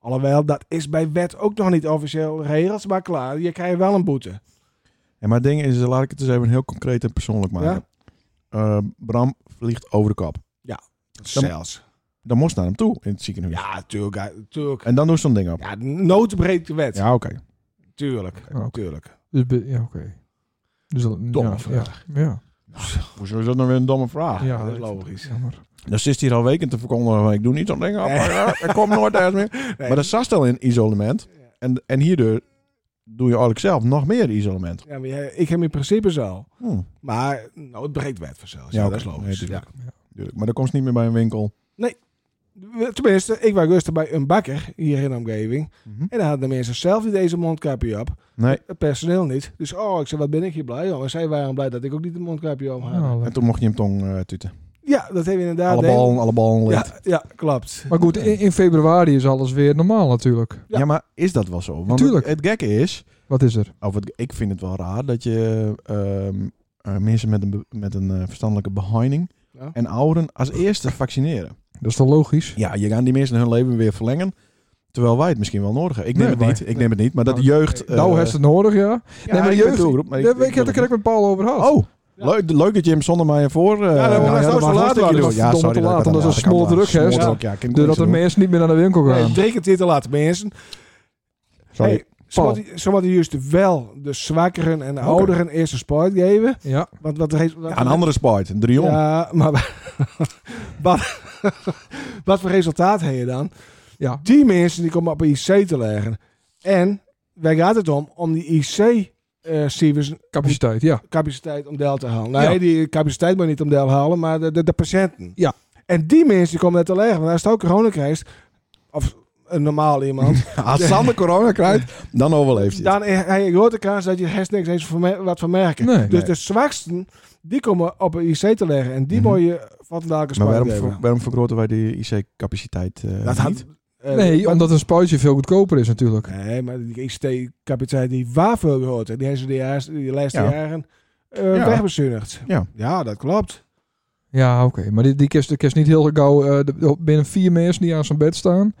Alhoewel, dat is bij wet ook nog niet officieel regels, maar klaar, je krijgt wel een boete.
Ja, maar het ding is, laat ik het eens even heel concreet en persoonlijk maken.
Ja.
Eh, Bram vliegt over de kap.
Zelfs.
Dan moest naar hem toe in het ziekenhuis.
Ja, tuurlijk. ja, tuurlijk.
En dan doe je zo'n ding op.
Ja, noodbreekt de wet.
Ja, oké.
Tuurlijk,
Oké.
tuurlijk.
Dus be- ja, oké. Dus dan,
Domme
ja,
vraag.
Ja, ja.
Hoezo is dat nou weer een domme vraag?
ja,
dat is logisch.
Jammer.
Dan zit hij hier al weken te verkondigen van ik doe niet zo'n ding op. eh, Er komt nooit ergens meer.
Nee,
Maar dat zat al in isolement.
Ja.
En, en hierdoor doe je eigenlijk zelf nog meer isolement.
ja, maar je- ik heb in principe zo.
Hm,
Maar noodbreekt wet vanzelf. Ja,
Ja, oké.
dat is logisch.
Nee, tuurlijk.
Ja.
tuurlijk. Maar dat komt niet meer bij een winkel.
We- Tenminste, ik was rustig bij een bakker hier in de omgeving.
Mhm.
En dan hadden de mensen zelf niet deze mondkapje op.
Nee.
Het personeel niet. Dus oh, ik zei, wat ben ik hier blij om. En zij waren blij dat ik ook niet een mondkapje om had.
Ja,
En
leuk.
toen mocht je hem tong eh tuten.
Ja, dat hebben we inderdaad.
Oh. alle
denk-
ballen, alle ballen. lint.
Ja, ja, klopt.
Maar goed, in, in februari is alles weer normaal natuurlijk.
Ja.
Ja. maar is dat wel zo? Want
Tuurlijk.
het, het gekke is,
Wat is er?
of het- ik vind het wel raar dat je ehm, eh, mensen met een, be- met een eh, verstandelijke behinding
Ja.
en ouderen als eerste vaccineren.
Dat is toch logisch?
Ja, je gaat die mensen hun leven weer verlengen. Terwijl wij het misschien wel nodig hebben. Ik neem
Nee,
het niet.
maar-
Ik neem het niet. Maar dat de
Nou,
jeugd. eh,
nou, heeft het nodig, ja.
ja,
nee, maar de
ik ben
jeugd-
doelgroep, maar
Ik, ik, heb het er met Paul over gehad.
Oh, leuk, leuk dat je hem zonder mij voor. eh,
Ja, dat was nou zo
was
laat
hartstikke
dat je
leuk.
was
Ja,
verdomme
sorry.
te laat,
dat
omdat
ik
ze
dat laat.
smoldruk, hè?
Smoldruk, ja. kind
Doordat
kon
de
ik zo
mensen niet meer naar de winkel gaan.
Nee, drink het hier te laat, mensen.
doen. Sorry.
Hey, Sommigen juist wel de zwakkeren en de
Oké.
ouderen eerst een sport geven.
Ja,
Want wat er heeft, wat
Ja, een andere sport. Een drion.
Ja, maar wat, wat voor resultaat heb je dan?
ja.
Die mensen die komen op een IC te leggen. En waar gaat het om? Om die ic eh cijfers
Capaciteit, ja.
capaciteit om deel te halen. Nee,
Ja.
die capaciteit maar niet om deel halen, maar de, de, de patiënten.
Ja.
En die mensen die komen net te leggen. Want als het ook corona krijgt, of een normaal iemand,
Als Sander corona krijgt, dan overleeft hij.
dan heb je grote kans dat je rest niks eens van me- wat van merken.
Nee.
dus
Nee.
de zwaksten, die komen op een IC te leggen. En die
Mhm.
moet je van de daken
Maar waarom,
sparen.
ver- waarom vergroten wij de IC-capaciteit eh
Dat had-
niet?
eh,
nee,
maar-
omdat een spuitje veel goedkoper is natuurlijk.
Nee, maar die ICT-capaciteit die waarvoor gehoord heeft, die hebben ze de, jaars- die laatste
Ja.
jaren eh
Ja.
wegbezuinigd.
Ja.
ja, dat klopt.
Ja, oké. Maar die, die kerst, de kerst niet heel gauw... eh, de- binnen vier mensen die aan zijn bed staan.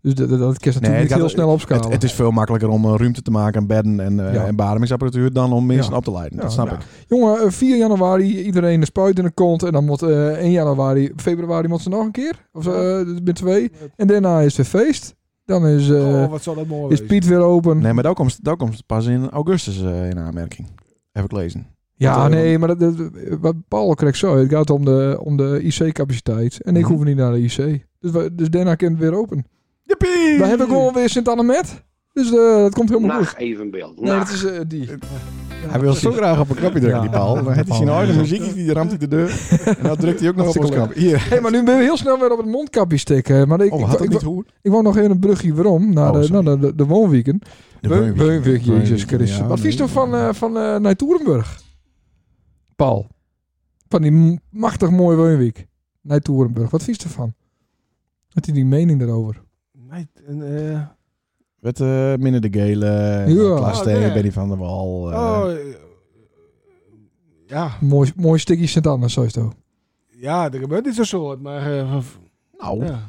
Dus dat, dat- dat kerst natuurlijk
Nee,
niet
dat-
heel snel opschalen.
Het, het is veel makkelijker om eh, ruimte te maken en bedden en, eh
Ja.
en bademingsapparatuur dan om mensen
Ja.
op te leiden.
Ja,
Dat snap
ja.
ik.
Jongen, eh, 4 januari iedereen een spuit in de kont. En dan moet eh 1 januari, februari moet ze nog een keer. Of eh met twee. En daarna is het weer feest. Dan is, eh,
oh, wat zal dat mooi
is
wezen.
Piet weer open.
Nee, maar dat komt, dat komt pas in augustus eh, in aanmerking. Heb ik gelezen.
ja,
Want, eh,
nee, maar dat, dat, wat Paul krijgt zo. Het gaat om de, om de IC-capaciteit. En ik
Mhm.
hoef niet naar de IC. Dus, we, dus daarna kan het weer open.
Jippie!
Dan heb ik gewoon weer Sint-Annemet. Dus eh, dat komt helemaal goed.
Nacht evenbeeld.
Nee, dat
Nacht.
is eh, die.
Hij wil zo graag op een knopje drukken,
Ja.
die paal. Maar het is in orde. De muziek is die ramt hij de deur. En dan drukt hij ook nog op ons knop. Hier.
Hey, maar nu ben je heel snel weer op het mondkapje stikken. Maar ik,
Oh,
ik,
had
ik,
het niet hoe?
ik wou nog even een brugje waarom. Naar,
Oh,
de,
sorry.
naar de, de, de woonweken.
De
Beun-
Beunwijk.
Beunwijk, Jezus
Beunwijk,
Christus.
ja,
Wat vies
nee.
toch van, eh van eh naar Toerenburg? Paul. Van die m- machtig mooie Weunwijk. Naar Toerenburg. Wat vies ervan? Had hij die mening daarover?
Nee, en, eh,
Met eh, Minne de Gele, eh,
Ja.
Klaas
Oh,
T,
nee.
Benny van der Wal. eh,
oh, eh, ja,
Mooi, mooi stukje Sint-Anna, zo is het ook.
ja, er gebeurt niet zo'n soort, maar... eh, v-
nou,
ja.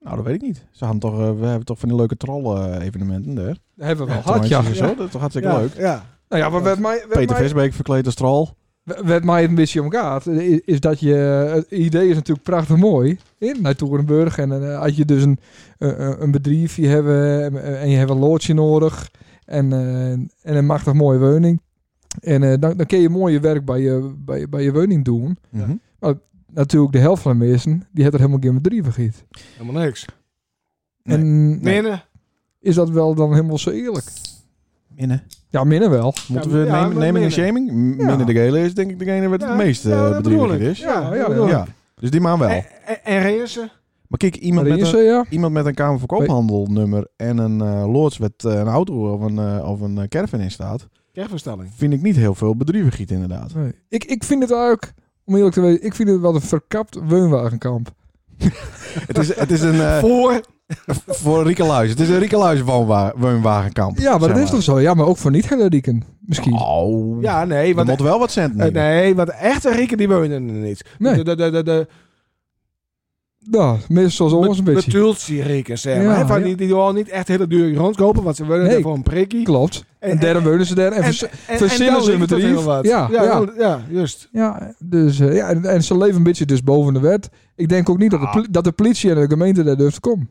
nou, dat weet ik niet. Ze hadden toch, eh, we hebben toch van die leuke troll-evenementen daar.
Dat hebben we wel
Had
gehad, ja.
Zo, dat is toch hartstikke
ja,
leuk.
Ja.
Nou ja, maar werd mij, werd
Peter
mij,
Visbeek verkleed als troll.
werd mij een beetje omgaat. Is, is dat je... Het idee is natuurlijk prachtig mooi. In, naar Toerenburg. En eh, had je dus een, eh, eh, een bedrijfje hebben. En, en je hebt een loodje nodig. En, eh, en een machtig mooie woning. En eh, dan, dan kun je mooie werk bij je, bij, je- bij je woning doen.
Ja.
Mhm.
Natuurlijk, de helft van de mensen, die heeft er helemaal geen bedrijf vergiet.
Helemaal niks.
Nee.
En nou,
Nee, nee.
is dat wel dan helemaal zo eerlijk?
Minne.
Ja, minder wel.
Moeten
Ja,
we
ja, maar
nemen, nemen in
Minne.
shaming? M-
Ja.
Minne de Gele is denk ik degene wat
Ja,
het meest
ja,
eh,
dat
bedrieglijk
bedoel ik.
is.
Ja,
Ja, ja,
ja,
Ja.
ja.
Dus die maan wel.
En, en, en Reussen?
maar kijk, iemand
Maar
met, een,
ze, ja.
iemand met een Kamer van Koophandelnummer en een eh loods met eh, een auto of een, eh, of een eh, caravan in staat,
Kerkverstelling.
vind ik niet heel veel bedrijvigheid inderdaad.
Nee. Ik, ik vind het eigenlijk, om eerlijk te wezen, ik vind het wel een verkapt woonwagenkamp.
het, is, het is een... eh,
Voor
voor Rieke Luijs. Het is een Rieke Luijs woonwa- woonwagenkamp.
Ja, maar
zeg
dat is toch zo? Ja, maar ook voor niet hele rieken misschien.
Oh, ja,
Ja, nee,
er
want,
moet wel wat cent
eh,
nemen.
nee, want de echte Rieken die wonen er niet.
Nee.
De, de, de, de, de
Ja, meestal zoals ons een beetje.
betultje Rieken, zeg maar.
Ja,
hè, van
ja.
Die, die al niet echt hele dure grond kopen, want ze wonen
Nee.
er voor een prikkie.
Klopt.
En-
En daarom wonen ze daar. En, vers- verzinnen
dan
ze een
ligt er
bedrijf.
nou heel wat.
Ja,
ja,
ja.
dan- ja, juist.
ja, dus, eh, ja, en, en ze leven een beetje dus boven de wet. Ik denk ook niet dat de, poli- dat de politie en de gemeente daar durft te komen.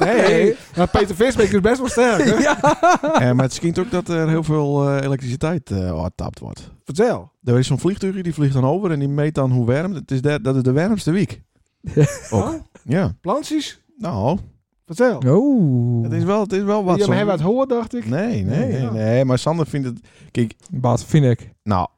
Nee,
Nee.
maar Peter Visbeek is best wel sterk. hè?
Eh, maar het schijnt ook dat er heel veel eh, elektriciteit eh tapt wordt.
Vertel.
Er is zo'n vliegtuigje, die vliegt dan over en die meet dan hoe warm. Het is de, dat is de warmste week. Ook.
Huh?
Ja,
Plantjes?
nou,
Vertel.
Oh.
het is wel, het is wel wat.
Wat, je
zo'n-
hem wat hoort, dacht ik.
Nee, nee,
Nee,
nee,
ja.
nee. Maar Sander vindt het... Kijk,
Wat vind ik.
nou,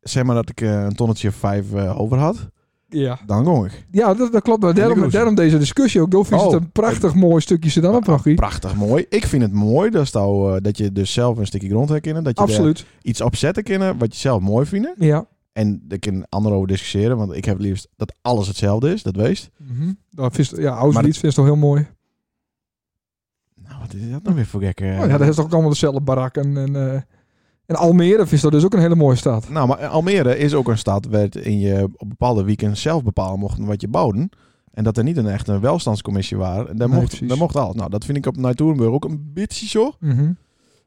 zeg maar dat ik eh, een tonnetje of vijf eh, over had.
Ja.
Dan gong ik.
Ja, dat, dat klopt. Maar
de
daarom,
koers.
daarom deze discussie ook. Dolf is
Oh.
het een prachtig mooi stukje Sedanenprachie.
Prachtig mooi. Ik vind het mooi dat, nou, eh, dat je dus zelf een stukje grond herkennen. Dat je daar
Absoluut.
iets opzetten kunnen wat je zelf mooi vindt.
Ja.
En daar kunnen anderen over discussiëren. Want ik heb het liefst dat alles hetzelfde is. Dat weest.
Mhm. Dat vindt, ja, Auschwitz vindt het toch heel mooi.
Nou, wat is dat nou weer voor gekke...
Oh, ja, dat is toch ook allemaal dezelfde barakken. En, eh, en Almere vindt dat dus ook een hele mooie stad.
Nou, maar Almere is ook een stad waarin je op bepaalde weekends zelf bepalen mocht wat je bouwde. En dat er niet een echt een welstandscommissie waren. En daar,
Nee,
mocht,
precies.
daar mocht alles. Nou, dat vind ik op Nijtoerenburg ook een beetje zo.
Mhm.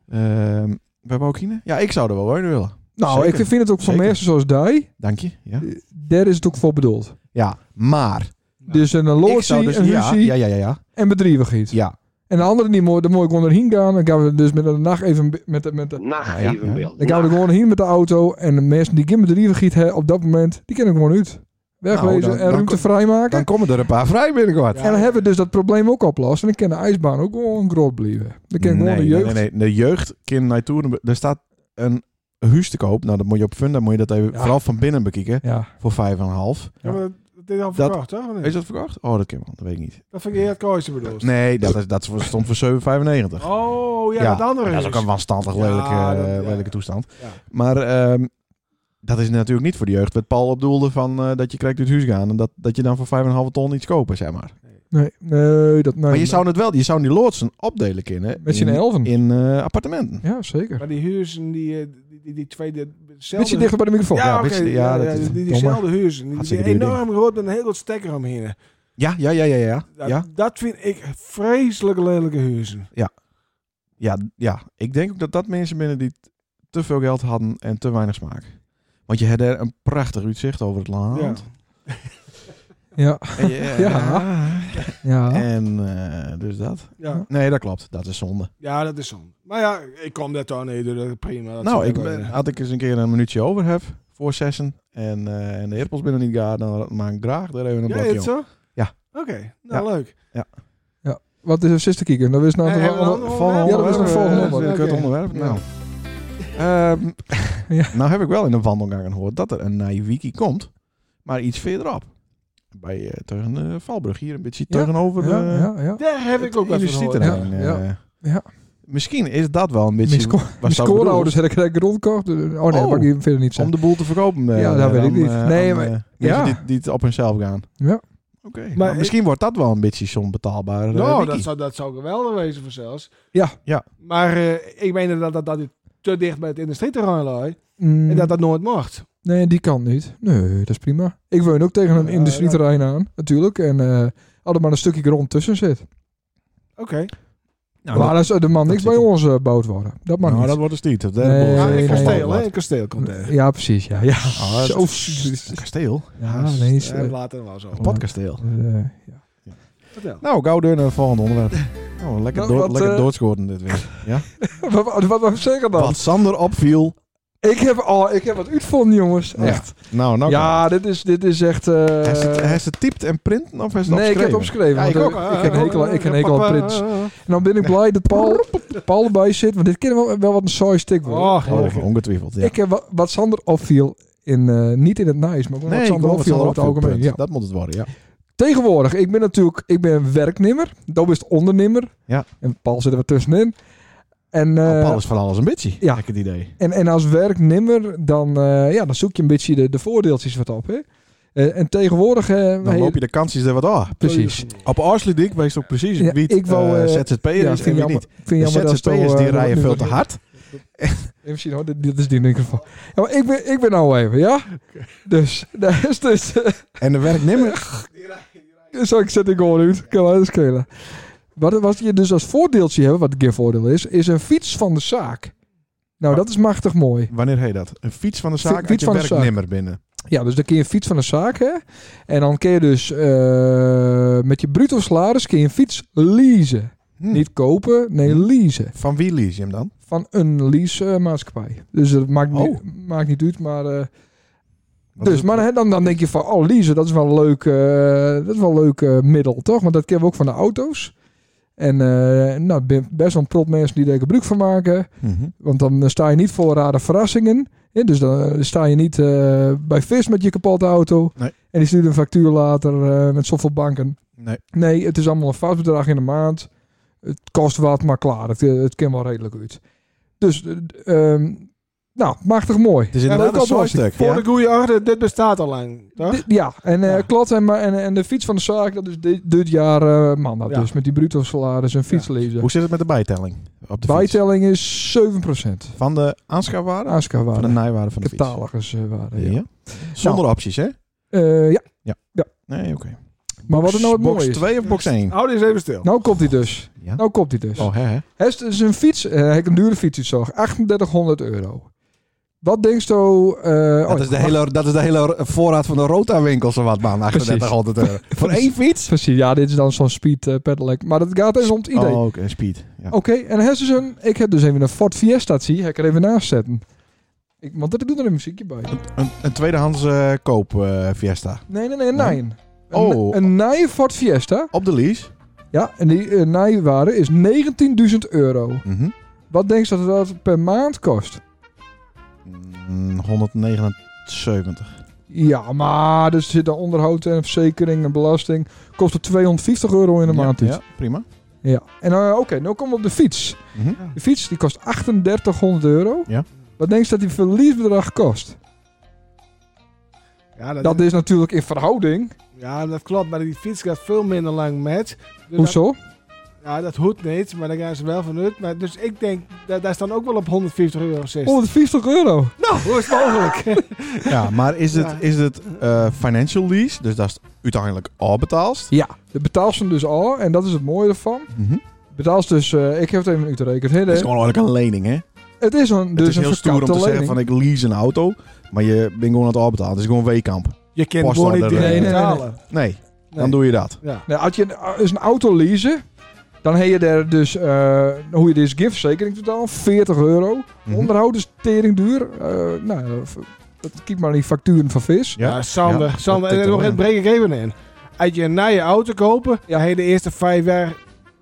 Ehm, we hebben ook hier... Ja, ik zou er wel wonen willen.
Nou,
Zeker.
ik vind het ook voor
Zeker.
mensen zoals die,
Dank je. Ja,
daar is het ook voor bedoeld.
ja maar...
Dus een
ik zou
loodsie,
dus...
een
Ja,
ruzie
ja, ja, ja, ja.
en bedrijvigheid.
Ja,
En de anderen die mooi, daar moet ik gewoon heen gaan. Dan gaan we dus met de nacht even be- met de, met de,
Nacht
Ja, ja,
evenbeeld.
dan gaan we er gewoon heen met de auto. En de mensen die geen bedrijvigheid hebben op dat moment, die kunnen gewoon uit. Wegwezen
Nou, dan-
en
dan
ruimte
kom-
vrijmaken.
dan komen er een paar vrij binnenkort.
Ja.
en dan hebben we dus dat probleem ook opgelost. En dan kan de ijsbaan ook gewoon groot blijven. Dan kan gewoon de jeugd.
Nee, nee, de jeugd kind naar toeren. Er staat een huis te koop. Nou, dat moet je op Funda moet je dat even
Ja.
vooral van binnen bekijken
Ja.
voor 5,5.
Ja, maar dat is al
Dat-
verkocht, toch? Of niet?
Is dat verkocht? Oh, dat kan wel. Dat weet ik niet.
Dat vind ik eerder het kooiste bedoeld.
Nee, dat, is, dat stond voor 7,95.
Oh, ja,
Ja,
dat andere
dat is ook een waanstandig
Ja,
lelijke,
dat-
eh,
ja.
lelijke toestand.
Ja.
Maar ehm, dat is natuurlijk niet voor de jeugd. Wat Paul opdoelde van eh, dat je krijgt uit het huis gaan en dat, dat je dan voor 5,5 ton iets kopen, zeg maar.
Nee, nee, dat... Nee,
maar je
nee.
zou het wel, je zou die loodsen opdelen kunnen
Met z'n
in,
elven.
in eh, appartementen.
Ja, zeker.
Maar die huizen, die, eh, die, die, die tweede...
Beetje
zelfde-
dichter bij de microfoon.
Ja,
Ja,
oké,
beetje-
ja,
ja,
ja,
dat is
die- die,
dommer.
diezelfde huizen. Die, die
Hartstikke duur ding.
enorm groot met een heel wat stekker omheen.
Ja, ja, ja, ja, ja.
Dat,
ja.
dat vind ik vreselijke lelijke huizen.
Ja, ja, ik denk ook dat dat mensen binnen die t- te veel geld hadden en te weinig smaak. Want je had er een prachtig uitzicht over het
Ja.
land.
Ja.
En je-
Ja. ja.
En eh, dus dat.
Ja.
Nee, dat klopt. Dat is zonde.
ja, dat is zonde. Maar ja, ik kom daar toch nee, dat is prima. Dat
nou,
is- eh,
ik, ben- had ik eens een keer een minuutje over heb voor zessen en, eh, en de herpels binnen niet gaan, dan maak ik graag daar even een
Ja,
blokje
is het
om.
zo?
Ja.
Oké, nou leuk.
Wat is er zitten kijken? Dat is nou
Eh,
toch
hebben we
wel-
een ander
Volgende
onderwerp?
Ja, dat is een
onderwerp,
volgende
eh,
onderwerp.
kut
Oké.
onderwerp.
Ja.
Nou. Ehm,
Ja.
nou heb ik wel in een wandelgang gehoord dat er een Naiviki komt, maar iets verderop. Bij eh, tegen eh, Valbrug, hier een beetje
Ja,
tegenover
ja,
de
ja, ja.
Daar heb ik ook wel van gehoord.
Ja.
industrieterrein. eh.
ja.
Misschien is dat wel een beetje
Mijn sco-
wat
Mijn
zou bedoelen
scoreouders hebben ik rondkocht. Oh nee, dat
Oh.
mag ik verder niet
om
zeggen.
de boel te verkopen. eh,
Ja, dat weet ik
aan,
niet.
eh,
Nee,
aan,
maar-
eh, mensen
ja.
die, die het op hunzelf gaan.
Ja.
Oké.
Maar
nou, misschien wordt dat wel een beetje zo'n betaalbare eh,
Nou,
wiki.
dat zou, dat zou geweldig wezen voor zelfs.
Ja.
Ja.
Maar eh, ik meen dat, dat, dat het te dicht bij het industrieterrein lag.
Mm,
En dat dat nooit mocht.
Nee, die kan niet. Nee, dat is prima. Ik woon ook tegen een
Ja,
industrieterrein aan, natuurlijk. En eh had er maar een stukje grond tussen zit.
Oké.
Eh,
Nou,
maar dat, is- er mag niks
zit
bij
hem.
ons eh, bouwd worden. Dat mag
nou,
niet.
dat wordt dus niet. Dat eh,
Nee,
boel-
Ja,
nee,
een
boel-
kasteel, hè?
wat.
Een kasteel komt tegen.
Ja, precies. Ja, ja.
Ah, dat
Zo.
is- een kasteel.
Ja, nee. is, eh,
En later wel zo.
Een potkasteel.
eh, ja.
Vertel.
Nou, gauw door naar het volgende onderwerp. Nou, lekker,
Nou,
door,
wat,
lekker
eh,
doodschoten dit weer.
Wat- Wat wat wou ik zeggen dan?
Wat Sander opviel.
Ik heb, oh, ik heb wat uitvonden, jongens.
Ja.
Echt.
Nou, nou.
ja, dit is, dit is echt... eh,
kan. Hij is het- Hij is het typt en printen of hij is het
nee, ik heb het
opgeschreven?
opgeschreven.
Ja,
want,
ik
eh,
ook.
ik heb een hekel aan- ik heb een hekel aan
eh.
prins.
Oh,
En dan ben ik blij dat Paul, Paul erbij zit. Want dit kan wel, wel wat een saai stuk worden.
heerlijk.
Oh, ongetwijfeld. Ja.
Ik heb wa- wat Sander opviel. In, eh, niet in het nice, maar gewoon
nee,
wat
ik
Sander
wil het
opviel
Sander
over het
opviel.
algemeen.
punt.
Ja.
Dat moet het worden, ja.
Tegenwoordig, ik ben natuurlijk ik ben werknemer. Dat is ondernemer.
Ja. Oh,
En Paul zit er wat tussenin. En, eh,
Paul is van alles een beetje.
ja.
Ja. Heb ik het idee.
En, en als werknemer, dan, eh, ja, dan zoek je een beetje de, de voordeeltjes wat op. Hè? Eh, en tegenwoordig... eh,
Dan
hey,
loop je de kans is er wat aan.
Precies.
Op Arsleydik wees ook precies
Ja,
wie
ik wou,
eh,
eh,
ZZP'er
Ja,
is en
vind je
wie
jammer,
niet.
vind
De
je jammer dat zo,
ZZP'ers
eh,
die
dat
rijden
nu
veel
wat
te
is.
hard.
Even zien hoor, dit, dit is die microfoon. Ja, maar ik ben, ik ben nou even, ja? Dus, daar is dus... eh,
En de werknemer...
Zo, ik zet ik gewoon uit. Kan wel eens schelen. Wat, wat je dus als voordeeltje hebt, wat een keer voordeel is, is een fiets van de zaak. Nou, dat is machtig mooi.
Wanneer heet dat? Een fiets van de zaak
fiets
uit je
van de zaak.
werknemer binnen.
Ja, dus dan kun je een fiets van de zaak, hè. En dan kun je dus eh, met je bruto salaris kun je een fiets leasen.
Hm.
Niet kopen, nee, leasen.
Van wie lease je hem dan?
Van een leasemaatschappij. Dus dat maakt,
Oh.
niet, maakt niet uit, maar... eh,
Wat is
dus,
het?
maar hè, dan, dan denk je van, oh leasen, dat is wel een leuk, eh, dat is wel een leuk eh, middel, toch? Want dat kennen we ook van de auto's. En eh, nou, ben- best wel een prop mensen die daar gebruik van maken.
Mhm.
Want dan eh, sta je niet voor rare verrassingen. Hè? Dus dan eh, sta je niet eh, bij vis met je kapotte auto.
Nee.
En die stuurt een factuur later eh, met zoveel banken.
Nee.
Nee, het is allemaal een vast bedrag in de maand. Het kost wat, maar klaar. Het, eh, het kan wel redelijk uit. Dus, eh, d- ehm, nou, machtig mooi.
Het is
Ja,
inderdaad
dat
een
kan wel.
zooistuk.
Voor de goede orde, dit bestaat al lang, toch?
Dit- Ja, en eh
Ja.
klopt. En, maar- en, en de fiets van de zaak, dat is dit, dit jaar eh maandag.
Ja.
Dus met die bruto salaris en fietslezen.
Hoe zit het met de bijtelling? Op de fiets?
Bijtelling is 7%.
Van de aanschafwaarde? Van de
Aanschafwaarde.
nijwaarde van de fiets?
Catalogus eh, waarde. Ja. Nou.
Ja. Zonder opties, hè?
Eh, ja,
Nee, oké.
maar wat er nou het
box
mooie is.
2 of box 1?
Hou die eens even stil.
Nou komt hij dus.
Ja.
Nou komt hij dus.
Oh, hè, hè?
Het is dus een fiets. eh, hij heeft een dure fiets, ik zag. 3800 euro. Wat denkst je... eh, oh,
Dat, is de hele, dat is de hele voorraad van de Rota-winkels en wat, man. 3800 euro. Voor één fiets?
Precies, ja, dit is dan zo'n speed eh, pedelec. Maar dat gaat eens om het idee.
Oh, oké. Speed. Ja.
Oké, en hij is dus een... Ik heb dus even een Ford Fiesta, zie je. Ga ik er even naast zetten. Ik, want dat doet er een muziekje bij.
Een, een tweedehands eh, koop eh, Fiesta.
Nee, nee, nee, een
Nee?
Nijn.
Oh.
Een, een Nijn Ford Fiesta.
Op de lease.
Ja, en die uh, Nijwaarde is 19.000 euro.
Mhm.
Wat denk je dat dat per maand kost?
Mm, 179.
Ja, maar er zit een onderhoud en verzekering en belasting. Kost het 250 euro in de
Ja,
maand.
Ja,
iets.
prima.
ja. En eh, oké, nou kom op de fiets.
Mhm.
De fiets die kost 3800 euro.
Ja.
Wat denk je dat die verliesbedrag kost?
Ja, dat,
Dat is natuurlijk in verhouding.
Dus
ja, dat klopt, maar die fiets gaat veel minder lang met. Dus
Hoezo?
dat- ja, dat hoeft niet, maar daar gaan ze wel van uit. Maar, dus ik denk, daar, daar staan ook wel op 150 euro. 60.
150 euro.
Nou, hoe is het mogelijk?
Ja, maar is het,
Ja.
is het eh, financial lease? Dus dat is uiteindelijk al betaald.
Ja. De betaalt ze hem dus al. En dat is het mooie ervan.
Mhm.
Betaalt ze dus... eh, ik heb het even uitgerekend. hè,
Dat is
hè.
gewoon eigenlijk een lening, hè?
Het is een, dus
het is
een
heel stoer om te
verkapte
zeggen van
lening.
ik lease een auto, maar je bent gewoon aan het afbetalen. Het is gewoon weekamp.
Je kent
Post
gewoon niet
order,
direct
eh. Nee, nee, nee, nee.
betalen.
Nee, dan
Nee.
doe je dat.
Ja.
Nou, als je een, dus een auto leasen, dan heb je er dus, eh, hoe je deze giftverzekering totaal, 40 euro.
Mhm.
Onderhoud is tering duur. Eh, nou, eh, v- dat kijk maar aan die facturen van vis.
Ja, Sander,
Ja,
Sander,
dat tikt
en
er
nog het
wel in.
breng ik even in. Als je een nieuwe auto kopen, ja. de eerste vijf jaar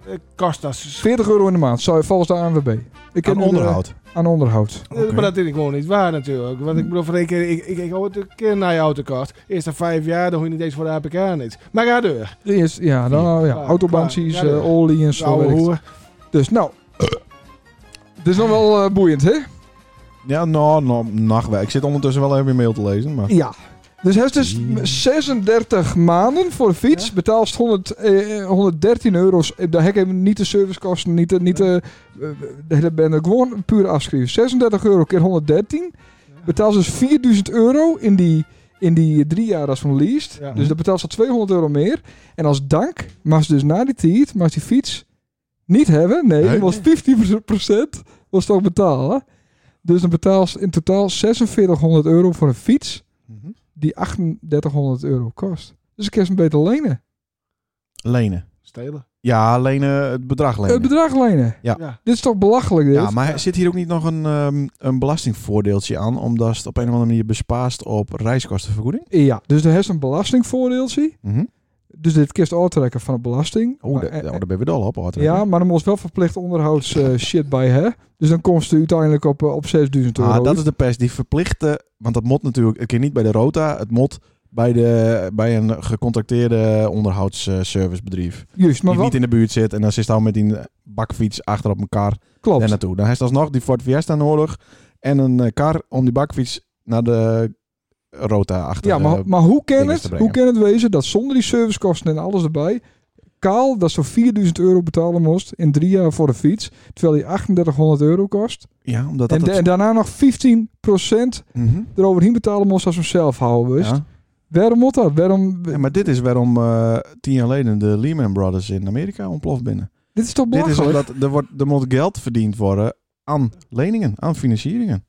eh, kost dat. s-
40 euro in de maand, zou- volgens de ANWB. Ik heb
Aan
nu de-
onderhoud.
aan onderhoud.
Eh, Maar dat is gewoon niet waar natuurlijk. Want ik bedoel, voor één keer, ik, ik, ik hoor het een keer een nieuwe auto kost. Eerste vijf jaar, dan hoor je niet eens voor de APK niet. Maar ga door.
De eerste- ja, nou, ja,
Klaar,
autobansies,
klaar. Ja,
eh,
ja.
olie en zo.
Oude
werkt.
hoer.
Dus nou, het is nog wel eh, boeiend, hè?
Ja, nou, nou, nachtwerk. Ik zit ondertussen wel even mijn mail te lezen, maar...
Ja. Dus hij is dus 36 maanden voor een fiets.
Ja.
Betaalt 100, eh, 113 euro's. Eh, Daar heb ik even niet de servicekosten, niet de... Niet de eh, de hele bende, gewoon puur afschrijven. 36 euro keer 113. Betaalt dus 4000 euro in die, in die drie jaar als van leased.
Ja.
Dus dat betaalt ze 200 euro meer. En als dank mag ze dus na die tijd, mag ze die fiets niet hebben. Nee,
Nee.
was 15% was toch betalen. Dus dan betaalt ze in totaal 4600 euro voor een fiets
Mhm.
die 3800 euro kost. Dus ik kan ze hem beter lenen.
Lenen.
Stelen.
Ja, lenen, het bedrag lenen.
Het bedrag lenen.
Ja.
Ja.
Dit is toch belachelijk dit?
ja, maar zit hier ook niet nog een, ehm, een belastingvoordeeltje aan, omdat het op een of andere manier bespaast op reiskostenvergoeding?
Ja, dus er is een belastingvoordeeltje.
Mhm.
Dus dit kist aftrekken van de belasting.
Oh,
Maar-
daar-
eh,
daar ben je dol op, hoor.
ja, maar dan moest wel verplicht onderhouds eh, shit bij, hè? Dus dan komt ze uiteindelijk op, eh, op 6000 euro.
Ah, dat is de pers die verplichte, want dat moet natuurlijk, het kan niet bij de Rota, het moet bij, de, bij een gecontracteerde onderhoudsservicebedrijf.
Juist, maar
die
wat
niet in de buurt zit en dan zit ze al met die bakfiets achter op elkaar
klopt.
daar naartoe. Dan heeft ze alsnog die Ford Fiesta nodig en een eh, kar om die bakfiets naar de rota achter. eh,
Ja, maar, maar hoe, kan
dingen
het,
te brengen.
hoe kan het wezen dat zonder die servicekosten en alles erbij... Kaal dat zo'n 4000 euro betalen moest in drie jaar voor de fiets... terwijl die 3800 euro kost.
ja omdat dat...
en, da- en
het-
daarna nog 15%
Mhm,
eroverheen betalen moest als we hem zelf houden. wist.
ja.
Waarom moet dat? Waarom,
Ja, maar dit is waarom eh, tien jaar geleden de Lehman Brothers in Amerika ontploft binnen.
dit is toch
Dit is
belachelijk?
omdat er, wordt, er moet geld verdiend worden aan leningen, aan financieringen.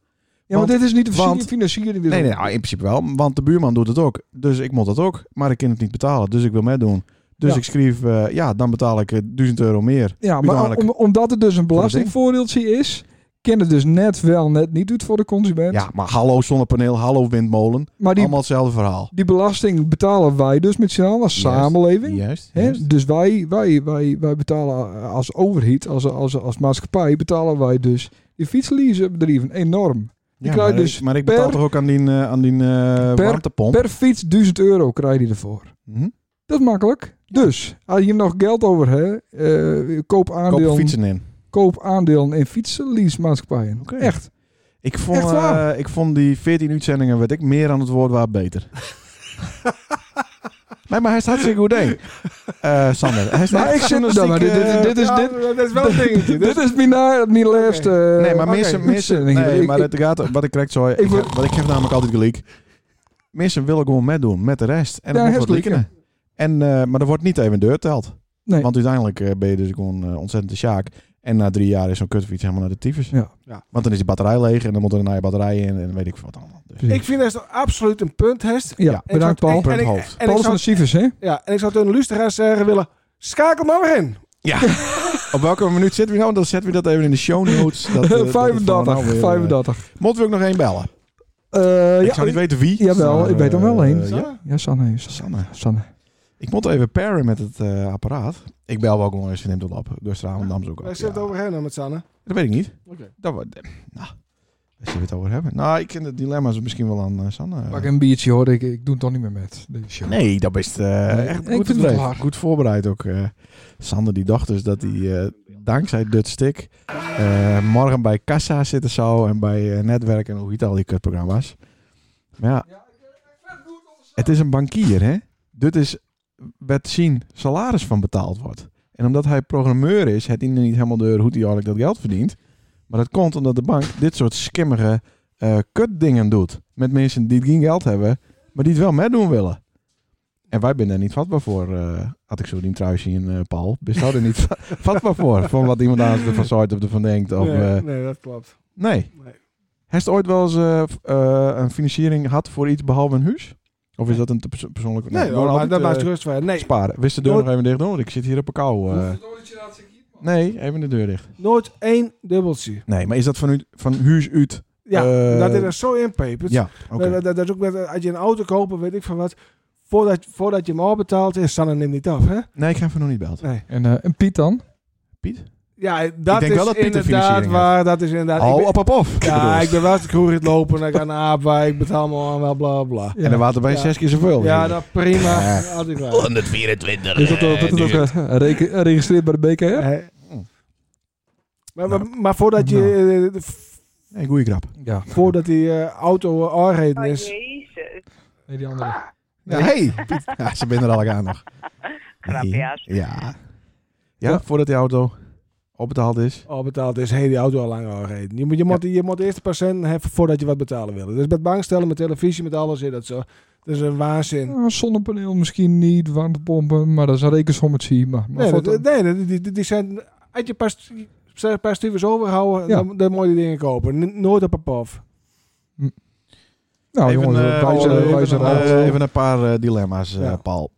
ja, maar
want-
dit is niet de
want-
financiering. dit
Nee,
is-
nee, nou, in principe wel. Want de buurman doet het ook. Dus ik moet dat ook. Maar ik kan het niet betalen. Dus ik wil met doen. Dus
Ja.
ik schreef, eh, ja, dan betaal ik eh, 1000 euro meer.
Ja, maar
Uiteindelijk.
om, omdat het dus een
dat ding.
belastingvoordeeltje is, kan het dus net wel, net niet doet voor de consument.
Ja, maar hallo zonnepaneel, hallo windmolen.
maar die,
Allemaal hetzelfde verhaal.
die belasting betalen wij dus met z'n allen als
Juist,
samenleving.
Juist.
Hè?
juist.
Dus wij, wij, wij, wij betalen als overheid, als, als, als maatschappij, betalen wij dus die fietsleasebedrijven enorm.
Ja,
krijg
maar,
dus
ik, maar ik betaal
per-
toch ook aan die, eh, aan die eh, warmtepomp?
Per fiets 1000 euro krijg je ervoor.
Mhm.
Dat is makkelijk. Dus, als je nog geld over hebt, eh, koop,
Koop
aandelen,
fietsen in.
koop aandelen in fietsenleasemaatschappijen.
Oké.
Echt.
Ik vond,
Echt waar?
eh, ik vond die 14 uitzendingen, weet ik, meer aan het woord waar beter. nee, maar hij staat hartstikke goed heen. Eh, Sander, hij staat
Maar ik zit
journalistiek,
nou, maar dit, dit,
eh,
dit is,
Ja,
dit,
dat is wel een dingetje.
dit
Dus
is mijn, na- mijn laatste.
Nee, maar
Eh, oké,
mensen, mensen,
uitzending hier.
nee,
Ik-
maar
ik-
het gaat, wat ik correct zei, ik,
Ik wil-
heb- want ik heb namelijk altijd gelijk. Mensen willen gewoon meedoen met de rest. En
Ja,
dat moet
heeft
wat likken. En, eh, maar er wordt niet even deurteld.
Nee.
Want uiteindelijk eh, ben je dus gewoon eh, ontzettend de sjaak. En na drie jaar is zo'n kutfiets helemaal naar de tyfus.
Ja.
Ja.
Want dan is die batterij leeg en dan moet er een nieuwe batterij in en weet ik wat allemaal. Dus.
Precies.
ik vind dat is absoluut een punthest.
ja,
ja,
bedankt
Ik
Paul.
zou-
Punt
en ik-
hoofd.
En
Paul
ik
is van
zou,
de Sivers, hè?
ja, en ik zou tegen de luisteraars zeggen willen, schakel nou weer in.
Op welke minuut zitten we nou? Dan zetten we dat even in de show notes. Dat, eh, dat het gewoon nou
35,
weer, eh,
35.
Moeten we ook nog één bellen?
Eh,
ik zou niet weten wie.
Jawel,
Maar,
ik weet er wel
eh,
één.
ja.
Sanne?
Ja, Sanne. is-
Sanne.
Sanne.
Ik moet even paren met het eh, apparaat. Ik bel wel gewoon eens, ze neemt Dus het op. Gisteravond nam ze ook op.
Wij zitten
ja.
het over hen dan met Sanne.
Dat weet ik niet.
Oké.
Dat we, eh, nou, daar zullen we het over hebben. Nou, ik ken de dilemma's misschien wel aan eh, Sanne.
Pak een biertje hoor, ik, ik doe het toch niet meer met deze show.
Nee, dat is eh, echt
ik
goed,
vind het
gedreven.
klaar.
goed voorbereid ook. eh. Sander die dacht dus dat hij eh, dankzij Dut Stick eh, morgen bij Kassa zitten zou en bij eh, Netwerk en hoe heet al die kutprogramma's. Maar ja, het is een bankier hè. Dit is werd zien salaris van betaald wordt. En omdat hij programmeur is, het hij nog niet helemaal door hoe hij eigenlijk dat geld verdient. Maar dat komt omdat de bank dit soort skimmige eh kutdingen doet. Met mensen die geen geld hebben, maar die het wel met doen willen. En wij zijn daar niet vatbaar voor. eh, had ik zo die trui zien, eh Paul. Bist daar niet va- vatbaar voor? Van wat iemand anders ervan zegt of ervan denkt. Of,
nee,
eh,
nee, dat klopt.
nee.
Nee.
Heeft ooit wel eens eh, f- eh, een financiering gehad voor iets behalve een huis? Of is dat een te perso- persoonlijke...
Nee,
gewoon
hoor, maar
altijd,
dat
eh,
maakt rust voor. Nee,
Sparen. Wist de deur
Nooit-
nog even dicht doen? Want ik zit hier op een kou. eh. Nee, even de deur dicht.
nooit één dubbeltje.
Nee, maar is dat van, u, van huis uit?
Ja,
Eh,
dat is er zo inpeperd.
Ja, oké.
Dat, dat, dat is ook met, eh, als je een auto koopt, weet ik van wat. Voordat, voordat je hem al betaalt, is Sanne neemt niet af, hè?
Nee, ik heb hem nog niet beld.
Nee.
En, eh, en Piet dan?
Piet?
Ja, dat
denk
is
wel dat Piet een
inderdaad
financiering
waar. Dat is inderdaad. ik
Al
ben-
op, op, op. Ik
ja,
bedoel.
ik ben wel te kroeg in het lopen en ik ga naar Aapwa, ik betaal me aan, wel bla bla.
En dan waren er bij
Ja.
zes keer zoveel.
Ja, dat prima.
Ja.
Altijd waar.
Is dat, ook- wordt het ook eh, reken- eh, registreerd bij de BKR?
Eh, maar, maar, maar voordat je, eh, v-
Nee, goeie grap.
Ja.
voordat die eh, auto eh, aangereden
Oh,
is,
jezus.
Nee, die andere.
Ja, hey, Piet. Ja, ze binnen er al aan nog.
Grapjaars.
Nee, Ja. Ja, voordat die auto opbetaald is.
al betaald is, heeft die auto al lang aangereden. Je moet, je moet, je moet eerst de patiënt hebben voordat je wat betalen wil. Dus met bankstellen, met televisie, met alles is dat zo. Dat is een waanzin.
Nou, zonnepaneel misschien niet, warmtepompen, maar dat is een rekensommetje. Maar, maar
Nee,
voor
dat-
het-
nee dat- die, die, die zijn... Als je pas een paar stuivers overhouden,
Ja.
dan, dan moet je die dingen kopen. N- nooit op een paf.
nou,
even,
jongens,
eh,
wij zijn-
even,
wij zijn
eh,
al-
even een paar eh, dilemma's, eh,
Ja.
Paul.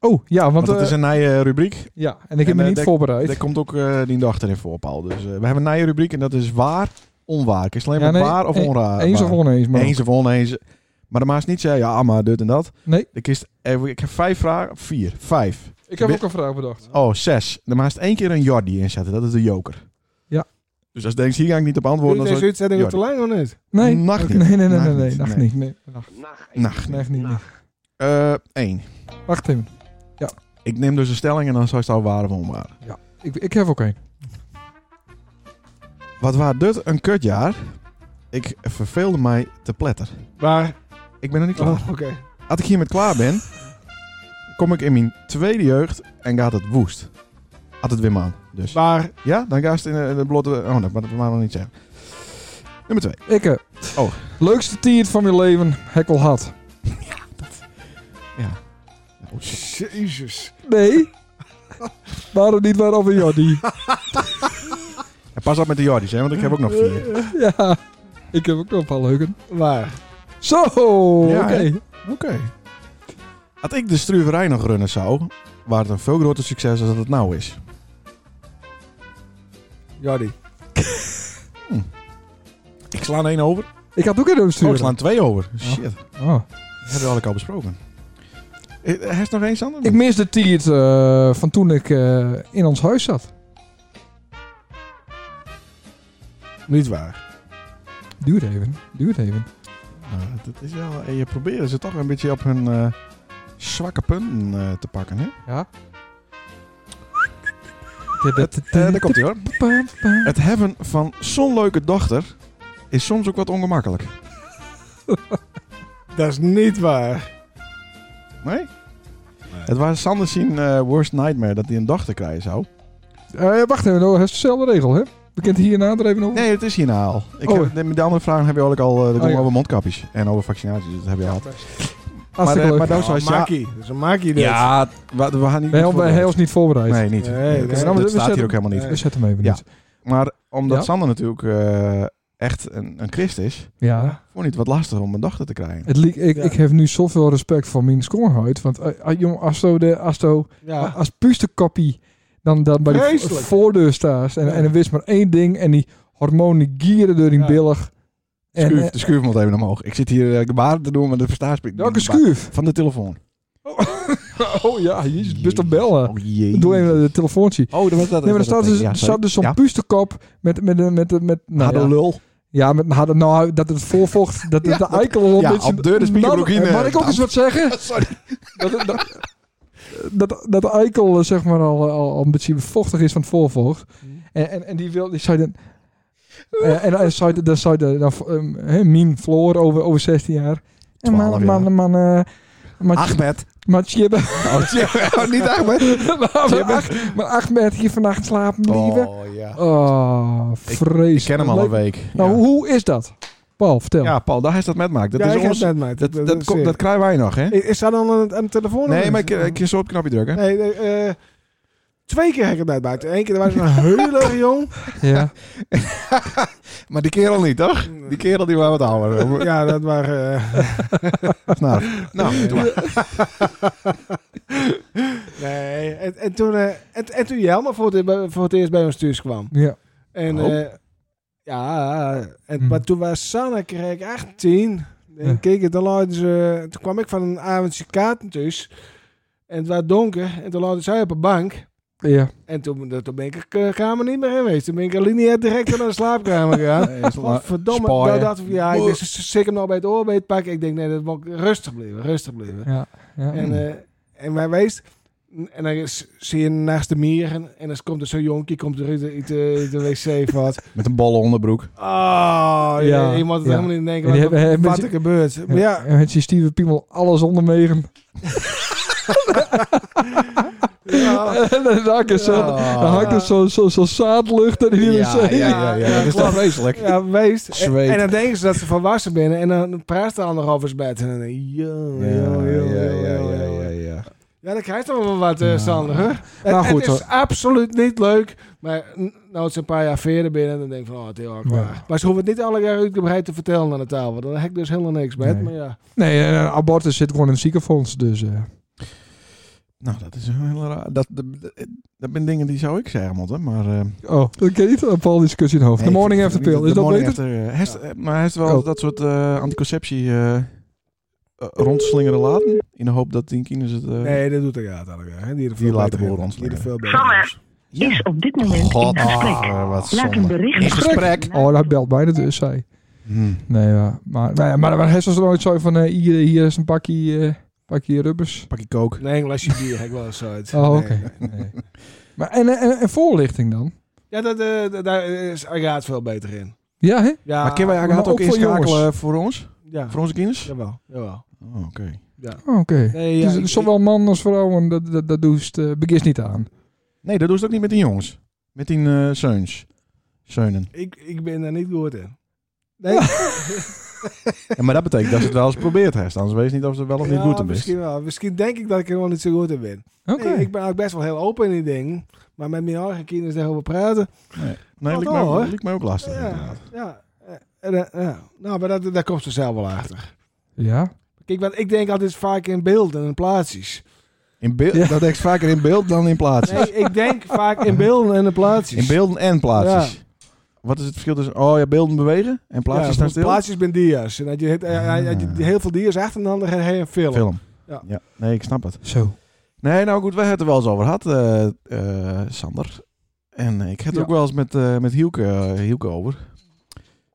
Oh, ja, want,
Want het
eh,
is een nieuwe rubriek.
ja, en ik heb
en,
me
eh,
niet
dek-
voorbereid.
Daar komt ook eh, die dag erin voor, Paul. Dus eh, we hebben een nieuwe rubriek en dat is waar, onwaar. Het is alleen
Ja,
maar
nee,
waar of
e-
onraar.
Eens of
waar.
oneens, maar
Eens of oneens. Maar de maas niet zeggen, ja, maar dit en dat.
Nee.
Ik, is, even- ik heb vijf vragen. Vier. Vijf.
ik heb
Wi-
ook een vraag bedacht.
Oh, zes. De maas één keer een Jordi inzetten. Dat is de joker.
Ja.
Dus als je denkt, hier ga ik niet op antwoorden.
Is
Dan
deze
zou ik-
uitzending te
Ja.
lang of niet?
Nee,
Mag
Oké,
niet.
Nee, nee, nee,
Mag
nee, nee,
niet.
nacht
Nee.
niet. Nee, nacht,
Nacht even
Nacht.
nacht niet. nee.
Eh, één.
Wacht even.
Ik neem dus een stelling en dan zou het al waar of onwaar.
Ik, ik heb ook één.
Wat waar dit een kutjaar? Ik verveelde mij te pletter.
Waar?
Ik ben nog niet klaar.
Oh, Oké.
Als ik hiermee klaar ben, kom ik in mijn tweede jeugd en gaat het woest. Had het weer man. Dus.
Maar
Ja, dan gaat het in de, in de blote. Oh, dat mag dat mag nog niet zeggen. Nummer twee.
Ikke.
Oh.
Leukste tiert van mijn leven. Hekkel had.
Ja. Oh, shit.
Jezus.
Nee. Waarom niet waarom een Jordi?
En pas op met de Jordis, hè, want ik heb ook nog vier. Oké.
ja. Ik heb ook nog een paar leuke.
Waar?
Zo.
Ja,
Oké.
hè? Had ik de struiverij nog runnen zou, was het een veel groter succes dan dat het nou is.
Jordi.
Oh, Ik sla er één over.
Ik had ook in hem
Oh, ik
sturen.
sla er twee over. Shit.
Oh.
Dat had ik al besproken. Eh, eh, Hij is nog eens Sander?
Ik mis de tiert eh, van toen ik eh, in ons huis zat.
Niet waar.
Duurt even. Duurt even.
Nou, dat is wel, eh, je proberen ze toch een beetje op hun eh, zwakke punten eh, te pakken, hè?
Ja.
Het, eh, daar komt hij hoor. Het hebben van zo'n leuke dochter is soms ook wat ongemakkelijk.
Dat is niet waar.
Nee? Het was Sander zijn eh, worst nightmare dat hij een dochter krijgen zou.
Eh, wacht even, dat is dezelfde regel, hè? We kunnen het hierna er even over.
Nee, het is hierna al. Ik
Oh.
heb, de, de andere vragen heb je eigenlijk al. eh, dat
Oh,
ging
ja.
over mondkapjes en over vaccinaties. Dat heb je al. Maar,
Hartstikke
eh,
leuk.
maar dat
Oh,
zou je
Maki. Dat is een Maki dit.
we, we gaan niet.
we hebben we
voorbereid.
hebben ons niet voorbereid.
Nee, niet.
Nee,
Nee,
nee,
dat-
nee.
dat
We
staat hier
zetten-
ook helemaal niet.
Nee.
We zetten hem even
Ja.
niet.
Maar omdat
Ja.
Sander natuurlijk eh, echt een, een christ is,
Ja.
vond hij het wat lastig om een dochter te krijgen.
Het liek, ik,
Ja.
ik heb nu zoveel respect voor mijn schoonheid. Want eh, ah, jong, als zo de, als zo,
Ja.
als puuste kopie dan, dan bij de
Vreselijk.
voordeur staat. En,
Ja.
en er wist maar één ding. En die hormonen gieren door die
Ja.
billig. En,
Schuif,
eh,
de schuif moet even omhoog. Ik zit hier eh, de baard te doen, maar de verstaarspreek.
welke schuif?
Van de telefoon.
Oh ja, jezus, best op bellen.
Oh jee.
Eh, Doe even de telefoontje.
Oh, dat was dat.
Nee, maar er staat dus,
Ja, sorry.
staat dus zo'n
Ja.
puusterkop met, met, met, met, met nou,
Harde
ja.
lul.
Ja, met hadden nou dat het voorvocht, dat het
Ja,
de eikel wel een
ja,
beetje...
op deur de spiegelbroek in,
Nou,
eh,
Mag ik ook
damp.
eens wat zeggen?
Sorry.
Dat, dat, dat, dat de eikel eh, zeg maar al, al, al een beetje vochtig is van het voorvocht.
Hmm.
En, en, en die wil, die zei dan... eh, en dan zei, de- dan zei de, dan, ehm, hè, Mien Floor over, over 16 jaar. En man,
12
man,
jaar.
man, eh, man,
Ahmed.
man, Chibbe.
Oh, sorry. Oh, niet Ahmed.
Maar Ach- maar Ahmed hier vannacht slapen blijven.
Oh ja.
Oh, vreselijk.
Ik ken hem al een week.
Nou,
ja.
hoe- hoe is dat? Paul, vertel.
ja, Paul, daar is dat met maakt. Dat,
Ja, ik
is
heb
ons,
het net, meid.
dat, dat,
is
komt-
zeer.
eh,
dat krijgen wij nog, hè?
I- Is dat dan een, een telefoon? of
Nee,
niet?
maar ik, ik kan zo op het knopje drukken.
Nee, nee, eh, twee keer heb ik het net buiten. Eén keer was ik nog heel erg jong.
ja.
Maar die kerel niet, toch? Die kerel die was wat ouder.
Ja, dat waren... eh,
nou, nou, doe maar.
nee, en, en toen, eh en, en toen Jelma voor het, bij- voor het eerst bij ons thuis kwam.
Ja.
En
Oh. Hm.
eh, ja, en,
Hmm.
maar toen was Sanne, kreeg ik 18. En
Ja.
keek het, dan luidden ze, eh, toen kwam ik van een avondje kaarten thuis. En het was donker. En toen luidde zij op een bank.
Ja.
En toen, toen ben ik de k- kamer niet meer in geweest. Toen ben ik lineair direct naar de slaapkamer gegaan.
Nee, is wel-
Wat verdomme.
Spaaien.
Nou, dat, ja, ik dacht, ze ik hem nou bij het oorbeet pakken. Ik denk, nee, dat moet ik rustig blijven, rustig blijven.
Ja. ja.
En, eh, en wij wees. En dan is- zie je naast de mieren. En dan komt er zo'n jonkie, komt er uit de, uit de, uit de wc of wat.
Met een bolle onderbroek.
Oh, ja.
Ja,
Je moet het
ja.
helemaal niet denken
En die
wat,
hebben- hebben
wat
ze-
er gebeurt. Maar
ja.
ja,
En met je stieve piemel alles ondermegen.
ja.
Ah.
en dan hangt er zo, Ah. dan hangt dus, er zo, zo, zo zaadlucht in
Ja,
die
ja,
wc.
ja, ja. Dat is toch vreselijk?
Ja, wees. En,
Zweet.
en dan denken ze dat ze volwassen binnen en dan praat ze al nog over bed. En dan denk je, yo,
Ja,
yo, yo,
ja,
yo,
ja,
yo,
ja,
yo.
ja, ja.
Ja, dat krijgt allemaal wel wat, eh,
Ja.
Sander. Hè?
Nou,
het,
goed,
het is
hoor.
absoluut niet leuk. Maar n- nou, het zijn een paar jaar verder binnen en dan denk ik van, oh, het is heel erg waar.
Ja.
Maar ze hoeven het niet alle jaar uitgebreid te vertellen aan de tafel. Dan heb ik dus helemaal niks met.
Nee.
Maar ja,
Nee, een abortus zit gewoon in het ziekenfonds. Dus eh,
Nou, dat is een hele raar. Dat, dat, dat zijn dingen die zou ik zeggen, moeten, maar... eh,
oh, dat ken je niet. Een Paul discussie in het hoofd.
nee,
de morning
ik-
after
ik-
pill,
de
is dat
morning
beter?
after, eh, hij is- eh, Maar hij heeft wel
Oh.
dat soort eh, anticonceptie eh, eh, rondslingeren laten. In de hoop dat die kinderen het... eh,
nee, dat doet er ja, alle jaar. hè. Die, er veel
Die laten
beter
de boel
in. Die er
rondslingeren.
veel beter
Sander.
in is.
ja.
is op dit moment
God,
in gesprek.
ah, wat
Laat een
zonde.
bericht
In gesprek.
Oh, dat belt bijna dus, zij.
Hm.
Nee, ja. Maar, nou ja, maar, maar hij was er nooit zo van, eh, hier, hier is een pakje, eh pakje rubbers.
Pak je kook.
Nee, een glasje bier heb ik wel eens uit.
Oh,
Nee,
oké.
nee.
Nee. Maar en, eh, en, en voorlichting dan?
Ja, dat, eh, d- daar is Agaat veel beter in.
Ja, hè?
Ja,
maar kunnen wij
maar
eigenlijk
ook
ook
voor
inschakelen voor ons?
Ja,
voor onze kinders?
jawel. jawel.
Oh, Oké.
Ja.
Oké.
Nee, ja,
dus
ik-
zowel man als vrouw, dat, dat, dat doest eh begis niet aan.
Nee, dat doen ze ook niet met die jongens. Met die eh zeuns. Zeunen.
ik, ik ben daar niet goed in. Nee,
Ja, maar dat betekent dat ze het wel eens probeert heeft. Anders weet je niet of ze wel of niet
ja,
goed in is.
Nou, misschien wel. Misschien denk ik dat ik er wel niet zo goed in ben.
Oké.
Nee, ik ben ook best wel heel open in die dingen. Maar met mijn eigen kinderen daarover praten.
Nee,
Wat
lijkt
wel,
mij,
hoor.
lijkt mij ook lastig.
Ja,
inderdaad.
ja. Eh, en, eh, ja. Nou, maar dat, daar komt ze zelf wel achter.
Ja.
Kijk, want ik denk altijd vaak in beelden en plaatsjes.
In beeld,
Ja.
Dat denk ik vaker in beeld dan in plaatsen.
Nee, ik denk vaak in beelden en in plaatsjes.
In beelden en plaatsen. Wat is het verschil tussen... Oh ja, beelden bewegen en plaatsen
ja,
staan
want
stil?
Plaatsjes ben dia's. En dat je, het- eh, eh, dat je
Ah.
heel veel dia's achter elkaar en hij een film.
Film.
Ja.
ja. Nee, ik snap het.
Zo.
Nee, nou goed, we hebben het er wel eens over gehad, eh, eh, Sander. En ik heb het
Ja.
ook wel eens met, eh, met Hielke, eh, Hielke over.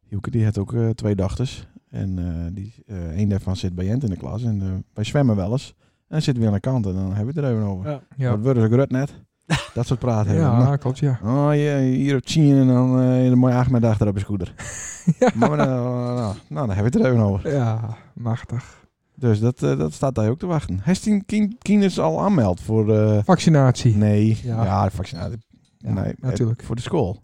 Hielke die had ook eh, twee dochters. En eh, die, eh een daarvan zit bij Jent in de klas. En eh, wij zwemmen wel eens. En dan zitten we aan de kant en dan hebben we het er even over.
Ja.
Ja,
Wat worden ze grut net? Dat soort praat hebben. we.
ja klopt, ja.
Oh ja, hier op Chien en dan eh een mooie achtmiddag achter op een scooter.
Ja.
Maar, eh, nou, nou, nou, dan hebben we het er even over.
Ja, machtig.
Dus dat, eh, dat staat daar ook te wachten. Heeft die kind- kinders al aanmeld voor... eh,
Vaccinatie.
Nee, ja,
Ja.
de vaccinatie.
Ja,
nee,
natuurlijk.
eh, Voor de school.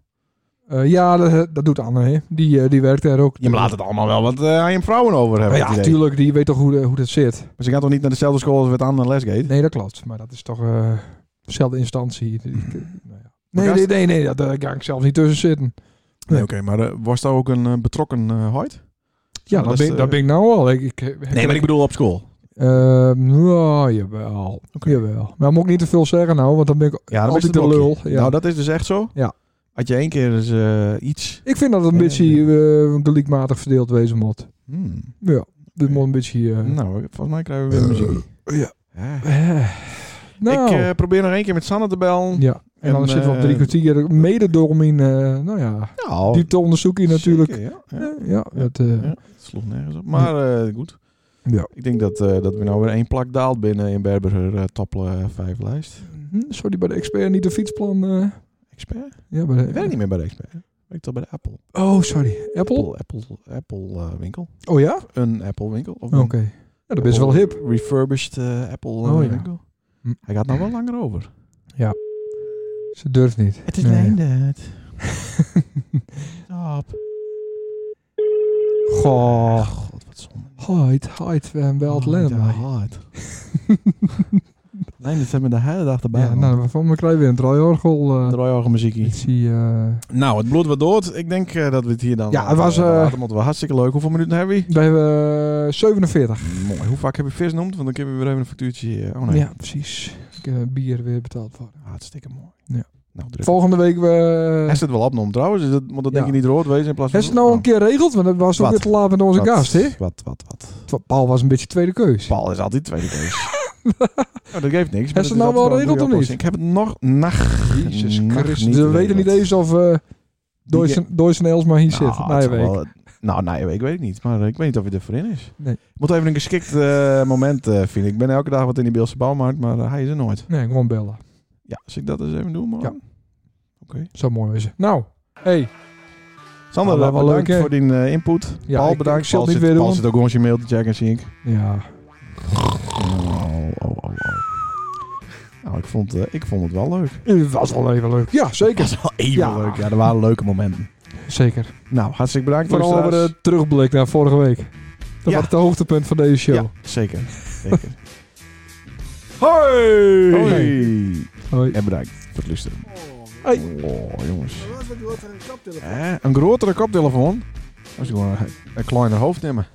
Eh, ja, dat, dat doet Anne, hè. Die, eh, die werkt daar ook.
Je laat het allemaal wel wat eh, aan je vrouwen over hebben.
ja,
het idee.
natuurlijk, die weet toch hoe, eh, hoe dat zit.
Maar ze gaat toch niet naar dezelfde school als wat aan de les gaat?
Nee, dat klopt. Maar dat is toch eh, dezelfde instantie. Die- die- nou ja.
Hmm. Maar
nee,
gast-
nee, nee, nee, dat daar kan ik zelf niet tussen zitten.
Nee, oké, maar eh, was daar ook een eh, betrokken eh huid?
Ja,
Maar
dat
dat is,
ben, ik-
eh,
dat ben ik nou al. Ik, ik, ik-
bedoel op school.
Eh, nou, jawel.
Oké.
Jawel. Maar moet ik niet te veel zeggen nou, want dan ben ik...
Ja, dat is
Altijd
het
de
blokje.
lul, ja.
Nou, dat is dus echt zo.
Ja.
Had je één keer eens eh, iets...
Ik vind dat het een
Ja,
beetje
ja.
eh, gelijkmatig verdeeld wezen moet.
Hmm.
Ja, dit moet een beetje... eh,
Nou, volgens mij krijgen we weer muziek.
ja.
Ja.
eh, nou,
Ik eh, probeer nog één keer met Sanne te bellen.
ja. En,
en,
dan zitten we op drie
eh,
kwartier mede door om in, eh, nou ja,
Nou,
diepte onderzoeken natuurlijk.
zeker, ja. Ja.
Ja, ja, dat, eh,
Ja. Het sloeg nergens op. Maar eh, goed.
Ja.
Ik denk dat, eh, dat we nou weer één plak daalt binnen in Berber eh top 5 lijst.
hm, sorry, bij de expert niet de fietsplan. eh.
Expert?
ja, bij de-
Ik werk niet meer bij de expert. Ik werk toch bij de Apple.
Oh, sorry. Apple?
Apple, Apple, Apple, eh, winkel.
Oh ja?
Een Apple winkel. Of
Oké.
een
Ja, dat is wel hip.
Refurbished eh, Apple eh,
Oh, ja.
winkel.
Hm.
Hij gaat nou wel langer over.
Ze durft niet.
Het is
Nee.
mijn net. Stop.
Goh.
God, wat zonde.
Hide, hide, we hebben wel het
Oh,
lenden.
ja, hard. Nee, dat hebben we de hele dag erbij.
Ja, nou, van me krijgen weer een draaiorgel. eh,
Draaiorgel muziekie.
Ik zie, eh,
Nou, het bloed wat dood. Ik denk eh, dat we het hier dan...
Ja, het was,
eh,
eh,
laten. Want we hartstikke leuk. Hoeveel minuten hebben we?
we hebben eh, 47.
Mooi. Hoe vaak heb je vis genoemd? Want dan kunnen we weer even een factuurtje... eh, oh nee.
Ja, precies. Ik eh, bier weer betaald worden.
Hartstikke mooi.
Ja.
Nou, druk.
Volgende week... We,
Hij zit wel opgenomen trouwens. Dus dat, want dat denk
Ja.
je niet rood wezen in plaats van...
Heeft het nou een keer regeld? Want dat was ook
Oh. Wat?
weer te laat met onze
Wat,
gast, hè?
Wat, wat, wat.
Terwijl Paul was een beetje tweede keus.
Paul is altijd tweede keus. nou, dat geeft niks. maar
Is
dat
het
altijd
nou wel
een
regeld
goede
of
oplossing.
niet?
Ik heb het nog... Nacht.
Jezus
Nog niet
Christus. We weten niet
geregeld.
eens of eh
Die-
Dois en Els maar hier zit.
Nou,
na
het
je
zal
week.
wel- nou, na je week weet ik niet. Maar ik weet niet of hij er voor in is.
Nee.
Moet even een geschikt eh, moment eh, vinden. Ik ben elke dag wat in die Beelse bouwmarkt, maar eh, hij is er nooit.
Nee, gewoon bellen.
Ja, als ik dat eens even doe, man.
Ja.
Oké.
Zo mooi is het. Nou, hey.
Sander,
Nou, wel
bedankt
leuk, hè?
voor die eh, input.
Ja,
Paul,
ik-
bedankt.
ik zal
Paul zit,
het niet weer
Paul
doen.
zit ook gewoon zijn mail te checken, zie ik.
Ja.
Oh, oh, oh, oh. Nou, ik vond, eh, ik vond het wel leuk.
Het was wel even leuk. Ja, zeker.
was wel even
Ja.
leuk. Ja, er waren leuke momenten.
Zeker.
Nou, hartstikke bedankt.
Vooral over
luisteraars.
de terugblik naar vorige week.
Ja.
Dat was het hoogtepunt van deze show.
Ja, zeker. zeker.
Hoi!
Hoi.
Hoi.
En bedankt voor het luisteren.
Oh,
Oh, jongens.
wat een grotere kaptelefoon.
Eh, een grotere koptelefoon. Als je gewoon een, een kleiner hoofd nemen.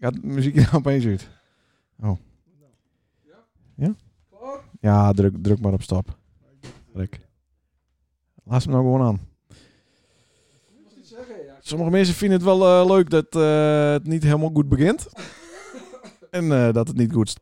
Gaat de muziek er opeens uit. Oh. Ja? Ja, druk, druk maar op stop. Rek. Laat ze me nou gewoon aan. Sommige mensen vinden het wel eh, leuk dat eh, het niet helemaal goed begint. en eh, dat het niet goed